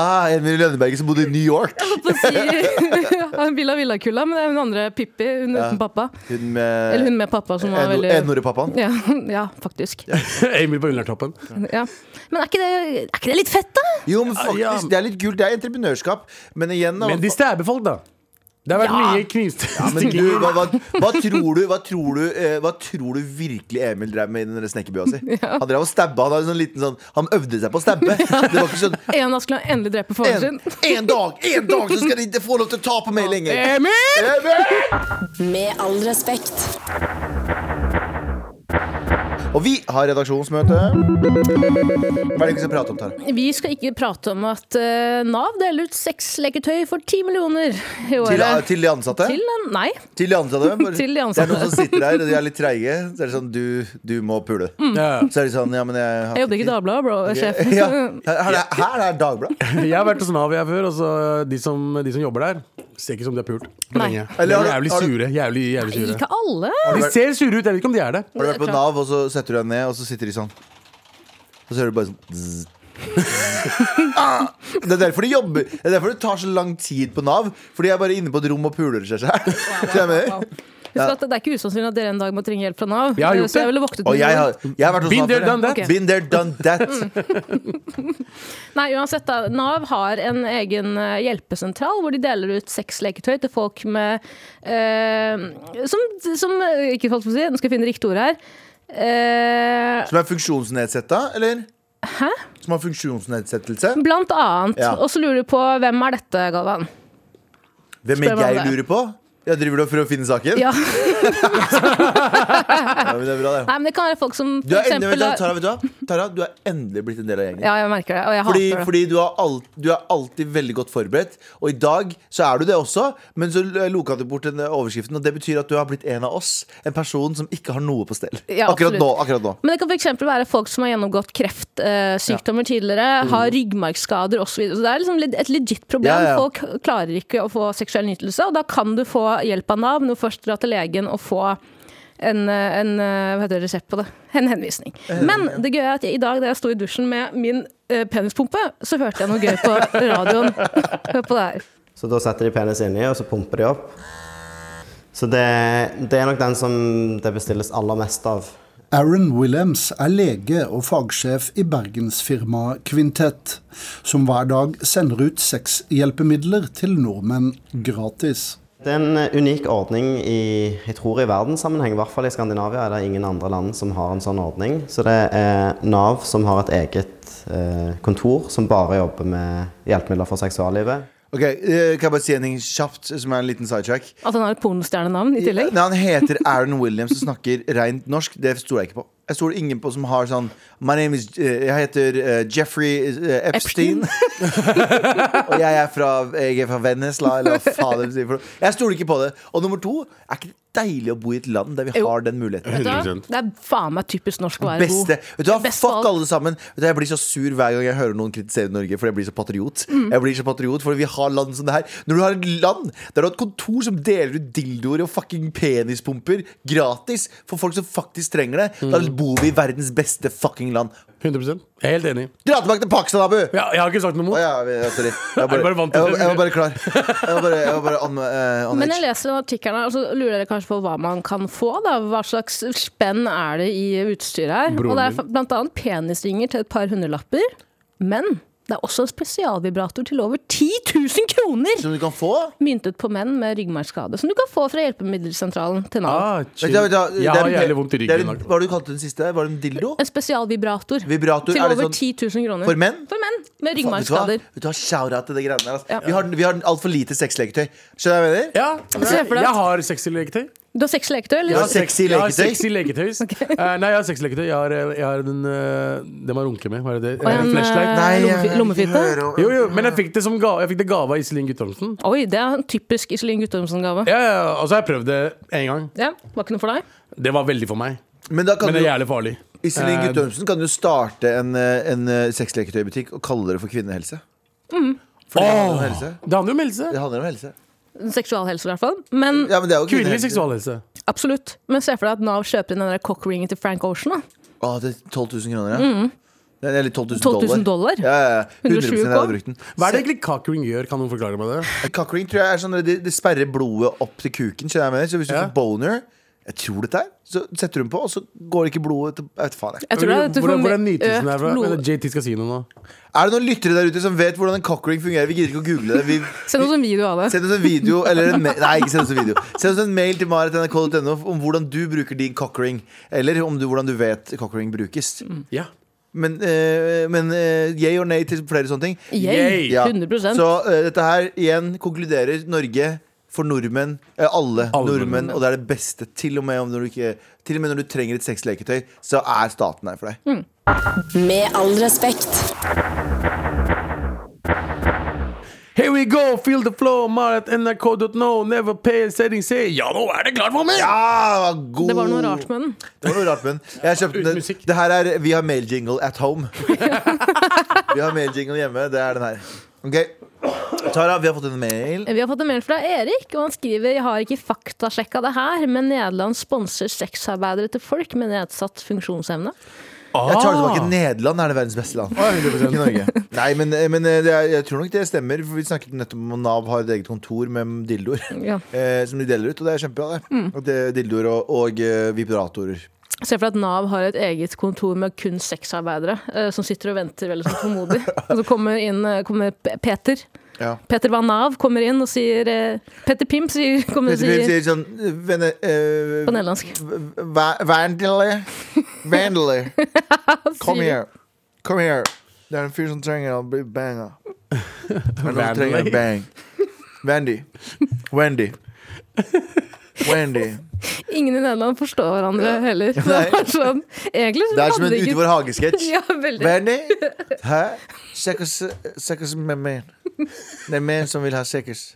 [SPEAKER 2] Ah, Emil Lønneberget som bodde i New York.
[SPEAKER 4] på å si Han Villa Villa-kulla, men det er hun andre Pippi, hun uten pappa.
[SPEAKER 2] Hun
[SPEAKER 4] Eller
[SPEAKER 2] med
[SPEAKER 4] hun med pappa, som var
[SPEAKER 2] Eno-
[SPEAKER 4] veldig
[SPEAKER 2] Enore-pappaen.
[SPEAKER 4] ja, ja, faktisk.
[SPEAKER 3] Emil på Ullerntoppen.
[SPEAKER 4] Ja. Men er ikke, det, er ikke det litt fett, da?
[SPEAKER 2] Jo, men
[SPEAKER 3] Ja.
[SPEAKER 2] faktisk, det er litt kult. Det er entreprenørskap. Men igjen, da
[SPEAKER 3] Men de stabber folk, da. Det har vært
[SPEAKER 4] Ja.
[SPEAKER 3] mye knivstikking.
[SPEAKER 2] Men du, hva, hva, hva tror du Hva tror du, eh, hva tror du virkelig Emil drev med i den der snekkerbua si? Han drev og stabba. Han, hadde en sånn liten sånn, han øvde seg på å stabbe. Det var ikke sånn
[SPEAKER 4] En dag skulle han endelig drepe faren
[SPEAKER 2] en,
[SPEAKER 4] sin.
[SPEAKER 2] en dag en dag så skal de ikke få lov til å ta på meg lenger!
[SPEAKER 3] Emil!
[SPEAKER 2] Emil!
[SPEAKER 7] Med all respekt.
[SPEAKER 2] Og vi har redaksjonsmøte. Hva er det vi skal prate om, Tara?
[SPEAKER 4] Vi skal ikke prate om at eh, Nav deler ut sexleketøy for ti millioner i
[SPEAKER 2] Til,
[SPEAKER 4] året.
[SPEAKER 2] til de ansatte?
[SPEAKER 4] Til en- Nei.
[SPEAKER 2] Til de ansatte. Bare-
[SPEAKER 4] Til de ansatte.
[SPEAKER 2] Det er noen som sitter her og de er litt treige. Så er det sånn Du, du må pule.
[SPEAKER 3] Ja.
[SPEAKER 2] Så er de sånn Ja, men jeg har
[SPEAKER 4] Mm. Jeg jobber ikke i
[SPEAKER 2] tid.»
[SPEAKER 4] Dagbladet, bro, sjef.
[SPEAKER 2] Ja, her, her, er- her er Dagbladet.
[SPEAKER 3] Jeg har vært hos Nav jeg før, og så de som, de som jobber der, ser ikke som de er pult. på
[SPEAKER 4] Nei.
[SPEAKER 3] lenge. De
[SPEAKER 2] Eller har
[SPEAKER 3] er
[SPEAKER 2] du-
[SPEAKER 3] jævlig
[SPEAKER 2] har du-
[SPEAKER 3] sure. Jævlig, jævlig sure.
[SPEAKER 4] Ikke alle.
[SPEAKER 3] De ser sure ut, jeg vet ikke om de er det.
[SPEAKER 2] Har du vært på Nav, og så setter du deg ned, og så sitter de sånn. Og så hører du bare sånn zzz. ah, Det er derfor de jobber Det er derfor det tar så lang tid på Nav. For de er bare inne på et rom og puler seg selv. Så jeg mener.
[SPEAKER 4] Husk at Det er ikke usannsynlig at dere en dag må trenge hjelp fra Nav.
[SPEAKER 3] Jeg har gjort
[SPEAKER 4] så jeg
[SPEAKER 3] det.
[SPEAKER 4] ville voktet
[SPEAKER 2] Og
[SPEAKER 4] meg
[SPEAKER 2] jeg
[SPEAKER 4] for det.
[SPEAKER 2] har, jeg har vært hos
[SPEAKER 3] Been
[SPEAKER 2] Nav
[SPEAKER 3] there,
[SPEAKER 2] før, jeg.
[SPEAKER 3] done that.
[SPEAKER 4] Ok.
[SPEAKER 2] Been there, done that.
[SPEAKER 4] Nei, uansett da, Nav har en egen eh, hjelpesentral hvor de deler ut sexleketøy til folk med eh, som, som Ikke holdt på å si, nå skal jeg finne riktig ord her. Eh,
[SPEAKER 2] Som er funksjonsnedsetta, eller? Som har funksjonsnedsettelse.
[SPEAKER 4] Blant annet.
[SPEAKER 2] Ja.
[SPEAKER 4] Og så lurer du på hvem er dette, Galvan?
[SPEAKER 2] Hvem
[SPEAKER 4] Spør
[SPEAKER 2] er
[SPEAKER 4] meg om
[SPEAKER 2] jeg
[SPEAKER 4] det.
[SPEAKER 2] lurer på? Jeg driver du for å finne saken?
[SPEAKER 4] Ja.
[SPEAKER 2] Ja, men det er bra, det.
[SPEAKER 4] Nei, men det kan være folk som
[SPEAKER 2] Du
[SPEAKER 4] for
[SPEAKER 2] er endelig,
[SPEAKER 4] eksempel
[SPEAKER 2] vet du, Tara, vet du hva? Tara, du er endelig blitt en del av gjengen.
[SPEAKER 4] Ja, jeg merker det. Og jeg
[SPEAKER 2] Fordi,
[SPEAKER 4] hater det.
[SPEAKER 2] fordi du, har alt, du er alltid veldig godt forberedt, og i dag så er du det også. Men så loka du bort den overskriften, og det betyr at du har blitt en av oss. En person som ikke har noe på stell.
[SPEAKER 4] Ja,
[SPEAKER 2] akkurat,
[SPEAKER 4] absolutt.
[SPEAKER 2] nå, akkurat nå.
[SPEAKER 4] Men det kan for eksempel være folk som har gjennomgått kreftsykdommer eh, sykdommer tidligere,
[SPEAKER 2] Mm.
[SPEAKER 4] har ryggmargskader osv. Så, videre. så det er liksom litt- et legit problem.
[SPEAKER 2] Ja, ja.
[SPEAKER 4] Folk klarer ikke å få seksuell nytelse, og da kan du få hjelp av Nav. men Du må først dra til legen og få en, eh, en eh, hva heter det, resept på det. En henvisning. Men det gøye er at jeg, i dag da jeg sto i dusjen med min eh, penispumpe, så hørte jeg noe gøy på radioen. Hør på det her.
[SPEAKER 8] Så da setter de penis inni, og så pumper de opp. Så det, det er nok den som det bestilles aller mest av.
[SPEAKER 9] Aaron Williams er lege og fagsjef i bergensfirmaet Kvintett, som hver dag sender ut sexhjelpemidler til nordmenn gratis.
[SPEAKER 8] Det er en unik ordning i, jeg tror i verdenssammenheng, i hvert fall i Skandinavia, er det ingen andre land som har en sånn ordning. Så det er Nav som har et eget eh, kontor som bare jobber med hjelpemidler for seksuallivet.
[SPEAKER 2] Ok, eh, Kan jeg bare si en ting kjapt, som er en liten sidetrack?
[SPEAKER 4] At han har et pornostjernenavn i tillegg.
[SPEAKER 2] Nei, han heter Aaron Williams og snakker rent norsk. Det stoler jeg ikke på. Jeg stoler ingen på som har sånn My name is eh, Jeg heter eh, Jeffrey eh, Epstein. og jeg er fra, jeg er fra Vennesla, eller hva faen de sier for noe. Jeg stoler ikke på det. Og nummer to, er ikke det deilig å bo i et land der vi
[SPEAKER 4] Jo.
[SPEAKER 2] har den muligheten?
[SPEAKER 4] Vet du hva?
[SPEAKER 3] 100%.
[SPEAKER 4] Det er faen meg typisk norsk å være
[SPEAKER 2] Beste.
[SPEAKER 4] god.
[SPEAKER 2] Vet du hva,
[SPEAKER 4] Beste
[SPEAKER 2] Fuck
[SPEAKER 4] valg.
[SPEAKER 2] alle sammen. Vet du, jeg blir så sur hver gang jeg hører noen kritisere Norge, fordi jeg blir så patriot.
[SPEAKER 3] Mm.
[SPEAKER 2] Jeg blir så patriot Fordi vi har land som det her. Når du har et land der du har et kontor som deler ut dildoer og fucking penispumper gratis for folk som faktisk trenger det,
[SPEAKER 3] Mm.
[SPEAKER 2] da bor vi i verdens beste fucking land.
[SPEAKER 3] 100% Jeg er helt enig.
[SPEAKER 2] Dra tilbake til Pakistan, Abu!
[SPEAKER 3] Ja, jeg har ikke sagt noe
[SPEAKER 2] Å
[SPEAKER 3] mot.
[SPEAKER 2] ja, vi- ja, sorry. Jeg var
[SPEAKER 3] Er du bare
[SPEAKER 2] bare,
[SPEAKER 3] vant
[SPEAKER 2] jeg
[SPEAKER 3] til
[SPEAKER 2] var,
[SPEAKER 3] det?
[SPEAKER 2] jeg var bare klar. Jeg var bare, jeg var bare on, eh, on
[SPEAKER 4] Men jeg
[SPEAKER 2] edge.
[SPEAKER 4] leser den artikkelen, her, og så lurer dere kanskje på hva man kan få. Da. Hva slags spenn er det i utstyret her?
[SPEAKER 3] Broren
[SPEAKER 4] Og det
[SPEAKER 3] min.
[SPEAKER 4] er bl.a. penisringer til et par hundrelapper. Men det er også en spesialvibrator til over 10 000 kroner!
[SPEAKER 2] Som du kan få?
[SPEAKER 4] Myntet på menn med ryggmargskade, som du kan få fra hjelpemiddelsentralen til Nav.
[SPEAKER 3] Ah,
[SPEAKER 2] Vet
[SPEAKER 3] chill.
[SPEAKER 2] du hva, vet du hva, det
[SPEAKER 3] jeg
[SPEAKER 2] er
[SPEAKER 3] har
[SPEAKER 2] en-
[SPEAKER 3] jævlig vondt i
[SPEAKER 2] det er en-
[SPEAKER 3] ryggen. i dag.
[SPEAKER 2] Hva har du kalte den siste? Var det en dildo?
[SPEAKER 4] En spesialvibrator.
[SPEAKER 2] Vibrator?
[SPEAKER 4] til
[SPEAKER 2] Er det
[SPEAKER 4] over
[SPEAKER 2] sånn-
[SPEAKER 4] 10 000 kroner.
[SPEAKER 2] For menn?
[SPEAKER 4] For menn
[SPEAKER 2] Faen,
[SPEAKER 4] med
[SPEAKER 2] Vet du hva?
[SPEAKER 4] ryggmargskader.
[SPEAKER 2] Vet du hva? Shout-out til det greiene der. Altså.
[SPEAKER 4] Ja.
[SPEAKER 2] Vi har, vi har altfor lite sexleketøy. Skjønner du hva jeg mener?
[SPEAKER 3] Ja,
[SPEAKER 4] Se for deg.
[SPEAKER 3] jeg har sexy leketøy.
[SPEAKER 4] Du har seks leketøy, eller?
[SPEAKER 2] Ja, se- Sexy
[SPEAKER 3] Jeg har
[SPEAKER 2] leketøy?
[SPEAKER 3] sexy leketøy. Eh, nei, jeg har sexy leketøy. Jeg har, eh, jeg har den eh, Det man runker med. Hva er det? det?
[SPEAKER 4] Og en,
[SPEAKER 3] en flashlight?
[SPEAKER 4] eh, lommefi-
[SPEAKER 2] jeg vil ikke
[SPEAKER 4] lommefitte?
[SPEAKER 2] høre om-
[SPEAKER 3] Jo, jo, men jeg fikk det som gave, jeg fikk det gave av Iselin Guttormsen.
[SPEAKER 4] Oi, det er en typisk Iselin Guttormsen-gave.
[SPEAKER 3] Ja, ja, og så har jeg prøvd det én gang.
[SPEAKER 4] Ja, Var ikke noe for deg?
[SPEAKER 3] Det var veldig for meg.
[SPEAKER 2] Men da kan
[SPEAKER 3] Men
[SPEAKER 2] du,
[SPEAKER 3] det er jævlig farlig.
[SPEAKER 2] Iselin
[SPEAKER 3] Eh,
[SPEAKER 2] Guttormsen kan jo starte en, eh, en eh, sexleketøybutikk og kalle det for kvinnehelse. For det handler om
[SPEAKER 3] Åh,
[SPEAKER 2] helse.
[SPEAKER 3] Det handler jo om helse.
[SPEAKER 2] Det handler om helse.
[SPEAKER 4] Seksualhelse, i hvert fall. Men
[SPEAKER 2] Ja, men det er jo
[SPEAKER 3] Kvinnelig
[SPEAKER 2] kvinnehelse.
[SPEAKER 3] seksualhelse.
[SPEAKER 4] Absolutt. Men se for deg at Nav kjøper inn den der cockringen til Frank Ocean. Da.
[SPEAKER 2] Å, det er 12 000 kroner, ja. Det er- Eller 12 000
[SPEAKER 4] 12
[SPEAKER 2] Mm. dollar.
[SPEAKER 4] 000 dollar?
[SPEAKER 2] Ja, ja, ja. 100 jeg
[SPEAKER 4] 120
[SPEAKER 2] hadde brukt den.
[SPEAKER 3] Hva er det egentlig cockring gjør? Kan noen forklare meg det?
[SPEAKER 2] Cockring tror jeg er sånn det, det sperrer blodet opp til kuken. Skjønner jeg hva jeg mener? Så hvis du
[SPEAKER 3] Ja.
[SPEAKER 2] får boner jeg tror dette her. Så setter hun på, og så går ikke blodet til Jeg vet faen, jeg.
[SPEAKER 4] Jeg tror det er at du får
[SPEAKER 3] Hvordan, hvordan nytelsen
[SPEAKER 4] økt
[SPEAKER 3] er fra?
[SPEAKER 4] blod-
[SPEAKER 3] Men JT skal si noe nå.
[SPEAKER 2] Er det noen lyttere der ute som vet hvordan en cockring fungerer? Vi gidder ikke å google det. Vi
[SPEAKER 4] Send oss en video av det.
[SPEAKER 2] Send oss en video eller en mail Nei, ikke send oss en video Send oss en mail til marit.nrk.no om hvordan du bruker din cockring. Eller om du, hvordan du vet cockring brukes.
[SPEAKER 3] Ja.
[SPEAKER 2] Men, eh, men eh, yay og nei til flere sånne ting.
[SPEAKER 4] Yay,
[SPEAKER 2] Ja.
[SPEAKER 4] 100
[SPEAKER 2] Så eh, dette her igjen konkluderer Norge for nordmenn. eh, alle,
[SPEAKER 3] Alle
[SPEAKER 2] nordmenn.
[SPEAKER 3] nordmenn,
[SPEAKER 2] Og det er det beste. Til og med, om når du ikke, til og med når du trenger et sexleketøy, så er staten her for deg.
[SPEAKER 7] Med all respekt.
[SPEAKER 3] Here we go, feel the flow, marat nrk.no, never pay a setting say Ja, nå er det klart for meg!
[SPEAKER 2] Ja, god
[SPEAKER 4] Det var noe rart med den.
[SPEAKER 2] Det var noe rart med den. Jeg kjøpte den.
[SPEAKER 3] musikk.
[SPEAKER 2] Det her er Vi har mailjingle at home. vi har mailjingle hjemme. Det er den her. Ok Tara, vi har fått en mail.
[SPEAKER 4] Vi har fått en mail fra Erik, og han skriver Jeg har ikke faktasjekka det her, men Nederland sponser sexarbeidere til folk med nedsatt funksjonsevne.
[SPEAKER 2] Jeg tar det tilbake. Nederland er det verdens beste land. Ikke Norge. Nei, men, men det er, jeg tror nok det stemmer. For Vi snakket nettopp om at Nav har et eget kontor med dildoer.
[SPEAKER 4] Ja.
[SPEAKER 2] Eh, som de deler ut, og det er kjempebra. det, At det er Dildoer og, og eh, vibratorer.
[SPEAKER 4] Se for deg at Nav har et eget kontor med kun sexarbeidere eh, som sitter og venter veldig sånn tålmodig. Og så kommer inn eh, kommer P- Peter.
[SPEAKER 2] Ja.
[SPEAKER 4] Peter van Nav kommer inn og sier eh, Peter Pimp sier, kommer og
[SPEAKER 2] Petter Pim
[SPEAKER 4] sier
[SPEAKER 2] sier sånn Venne... eh,
[SPEAKER 4] på nederlandsk.
[SPEAKER 2] v- v- Vandler. Vandler. Kom
[SPEAKER 4] Sier-
[SPEAKER 2] her. Come here. Det er en fyr som trenger å bli banga. Han trenger
[SPEAKER 3] Vanley.
[SPEAKER 2] en bang. Wendy. Wendy. Wendy.
[SPEAKER 4] Ingen i Nederland forstår hverandre heller. Det
[SPEAKER 2] Nei.
[SPEAKER 4] var sånn, egentlig så
[SPEAKER 2] Det er som en
[SPEAKER 4] hadde
[SPEAKER 2] Ute i
[SPEAKER 4] ikke-
[SPEAKER 2] vår hage-sketsj.
[SPEAKER 4] Ja, veldig.
[SPEAKER 2] Benny? Hæ? Sekkers Sekkers med menn. Det er menn som vil ha sekkers.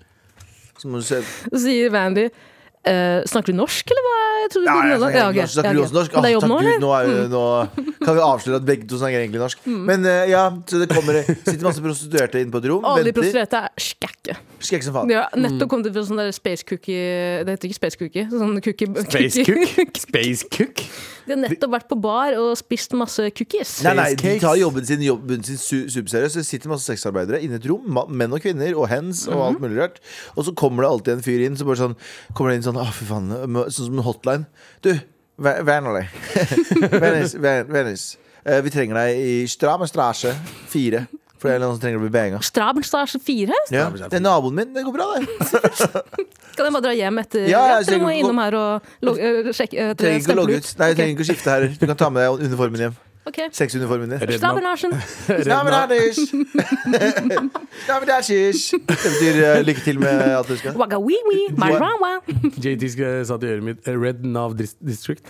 [SPEAKER 2] Så må du se
[SPEAKER 4] Så sier Vandy eh, Snakker du norsk, eller hva? Jeg trodde du
[SPEAKER 2] jeg
[SPEAKER 4] kunne
[SPEAKER 2] snakker
[SPEAKER 4] ok,
[SPEAKER 2] engelsk. altså, Snakker du
[SPEAKER 4] ok.
[SPEAKER 2] også norsk?
[SPEAKER 4] Men Det er Mm.
[SPEAKER 2] Å,
[SPEAKER 4] jobb nå,
[SPEAKER 2] takk Gud,
[SPEAKER 4] eller?
[SPEAKER 2] nå, er, jo- nå kan vi avsløre at begge to snakker egentlig norsk.
[SPEAKER 4] Mm.
[SPEAKER 2] Men eh, ja, så det kommer sitter masse prostituerte inne på et rom.
[SPEAKER 4] Alle
[SPEAKER 2] Venter.
[SPEAKER 4] de
[SPEAKER 2] Mm.
[SPEAKER 4] prostituerte er skække.
[SPEAKER 2] Skrekk som faen.
[SPEAKER 4] Ja, nettopp kom det fra sånn der space cookie Det heter ikke space cookie. Sånn cookie
[SPEAKER 3] Space cook? Ah, Space cook?
[SPEAKER 4] De har nettopp vært på bar og spist masse cookies.
[SPEAKER 2] Nei, nei, de
[SPEAKER 3] Cakes.
[SPEAKER 2] tar jobben sin, jobben sin su superseriøst. Det sitter masse sexarbeidere inne i et rom, ma- menn og kvinner, og hens og alt mulig rart. Og så kommer det alltid en fyr inn, så bare sånn kommer det inn sånn Å, fy faen. må- Sånn som en hotline. Du, Wernerley. Venice. Ven- Venice. Eh, vi trenger deg i Stramestrasje 4. For det er noen som trenger å bli banga.
[SPEAKER 4] Strabelstad 4?
[SPEAKER 2] Ja. Det er naboen min. Det går bra, det.
[SPEAKER 4] Skal jeg bare dra hjem etter
[SPEAKER 2] Ja, ja,
[SPEAKER 4] rett, eller må
[SPEAKER 2] så-
[SPEAKER 4] jeg innom her og log- eh, sjekke eh,
[SPEAKER 2] Trenger ikke å
[SPEAKER 4] stemple
[SPEAKER 2] logge ut. Nei, trenger ikke å skifte her. Du kan ta med deg uniformen hjem.
[SPEAKER 4] Ok. sånn Ok.
[SPEAKER 2] Sexuniformen din.
[SPEAKER 3] Redna-
[SPEAKER 4] Strabelnarsen.
[SPEAKER 2] Snabbeladish! Snabbeladish! Det betyr eh, lykke til med alt du skal.
[SPEAKER 4] Wagga wee wee. Marawa.
[SPEAKER 3] JT sk- sa til øret mitt eh, Red Nav Dis- District.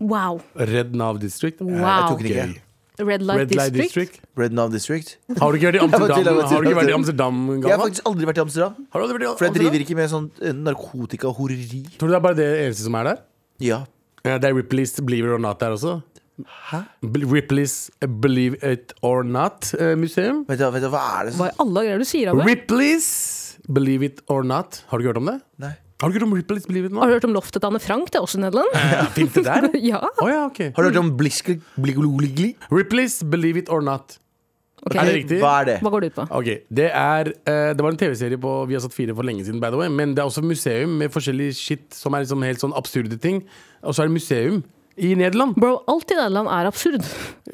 [SPEAKER 4] Wow.
[SPEAKER 3] Red Nav District. Eh,
[SPEAKER 2] Jeg
[SPEAKER 4] Wow.
[SPEAKER 2] tok den ikke.
[SPEAKER 3] Gøy.
[SPEAKER 4] Red Light,
[SPEAKER 3] Red Light
[SPEAKER 4] District.
[SPEAKER 3] District.
[SPEAKER 2] Red Nav District.
[SPEAKER 3] Har du ikke vært i
[SPEAKER 2] Jeg var til, jeg
[SPEAKER 3] Amsterdam?
[SPEAKER 2] var til,
[SPEAKER 3] Har du ikke
[SPEAKER 2] jeg var
[SPEAKER 3] vært i
[SPEAKER 2] til.
[SPEAKER 3] Amsterdam
[SPEAKER 2] Jeg har
[SPEAKER 3] Galvan?
[SPEAKER 2] faktisk aldri vært i Amsterdam.
[SPEAKER 3] Har du aldri vært i
[SPEAKER 2] For jeg driver
[SPEAKER 3] Amsterdam?
[SPEAKER 2] ikke med sånn eh, narkotika og horeri.
[SPEAKER 3] Tror du det er bare det eneste som er der?
[SPEAKER 2] Ja.
[SPEAKER 3] Ja, det er Ripley's Believe It Or Not der også.
[SPEAKER 2] Hæ?
[SPEAKER 3] Bl- Ripley's Believe It Or eh, Not-museum.
[SPEAKER 2] Vet du, vet du hva er det som
[SPEAKER 4] Hva i alle greier du sier, Abel?
[SPEAKER 3] Ripley's Believe It Or Not. Har du ikke hørt om det?
[SPEAKER 2] Nei.
[SPEAKER 3] Har du ikke hørt om Ripley's Believe It Or
[SPEAKER 4] Har
[SPEAKER 3] Not?
[SPEAKER 4] du hørt om loftet til Anne Frank? Det er også Nederland.
[SPEAKER 3] Ja, Fins det der?
[SPEAKER 4] ja.
[SPEAKER 3] Å ja, ok.
[SPEAKER 2] Har du hørt om blisk- blikkololigli?
[SPEAKER 3] Ripley's Believe It Or Not.
[SPEAKER 4] ok.
[SPEAKER 3] Er det riktig?
[SPEAKER 2] Hva er det?
[SPEAKER 4] Hva går det ut på?
[SPEAKER 3] Ok, det er eh, Det var en TV-serie på Vi har satt fire for lenge siden, by the way. Men det er også museum med forskjellig shit som er liksom helt sånn absurde ting. Og så er det museum i Nederland.
[SPEAKER 4] Bro, alt i Nederland er absurd.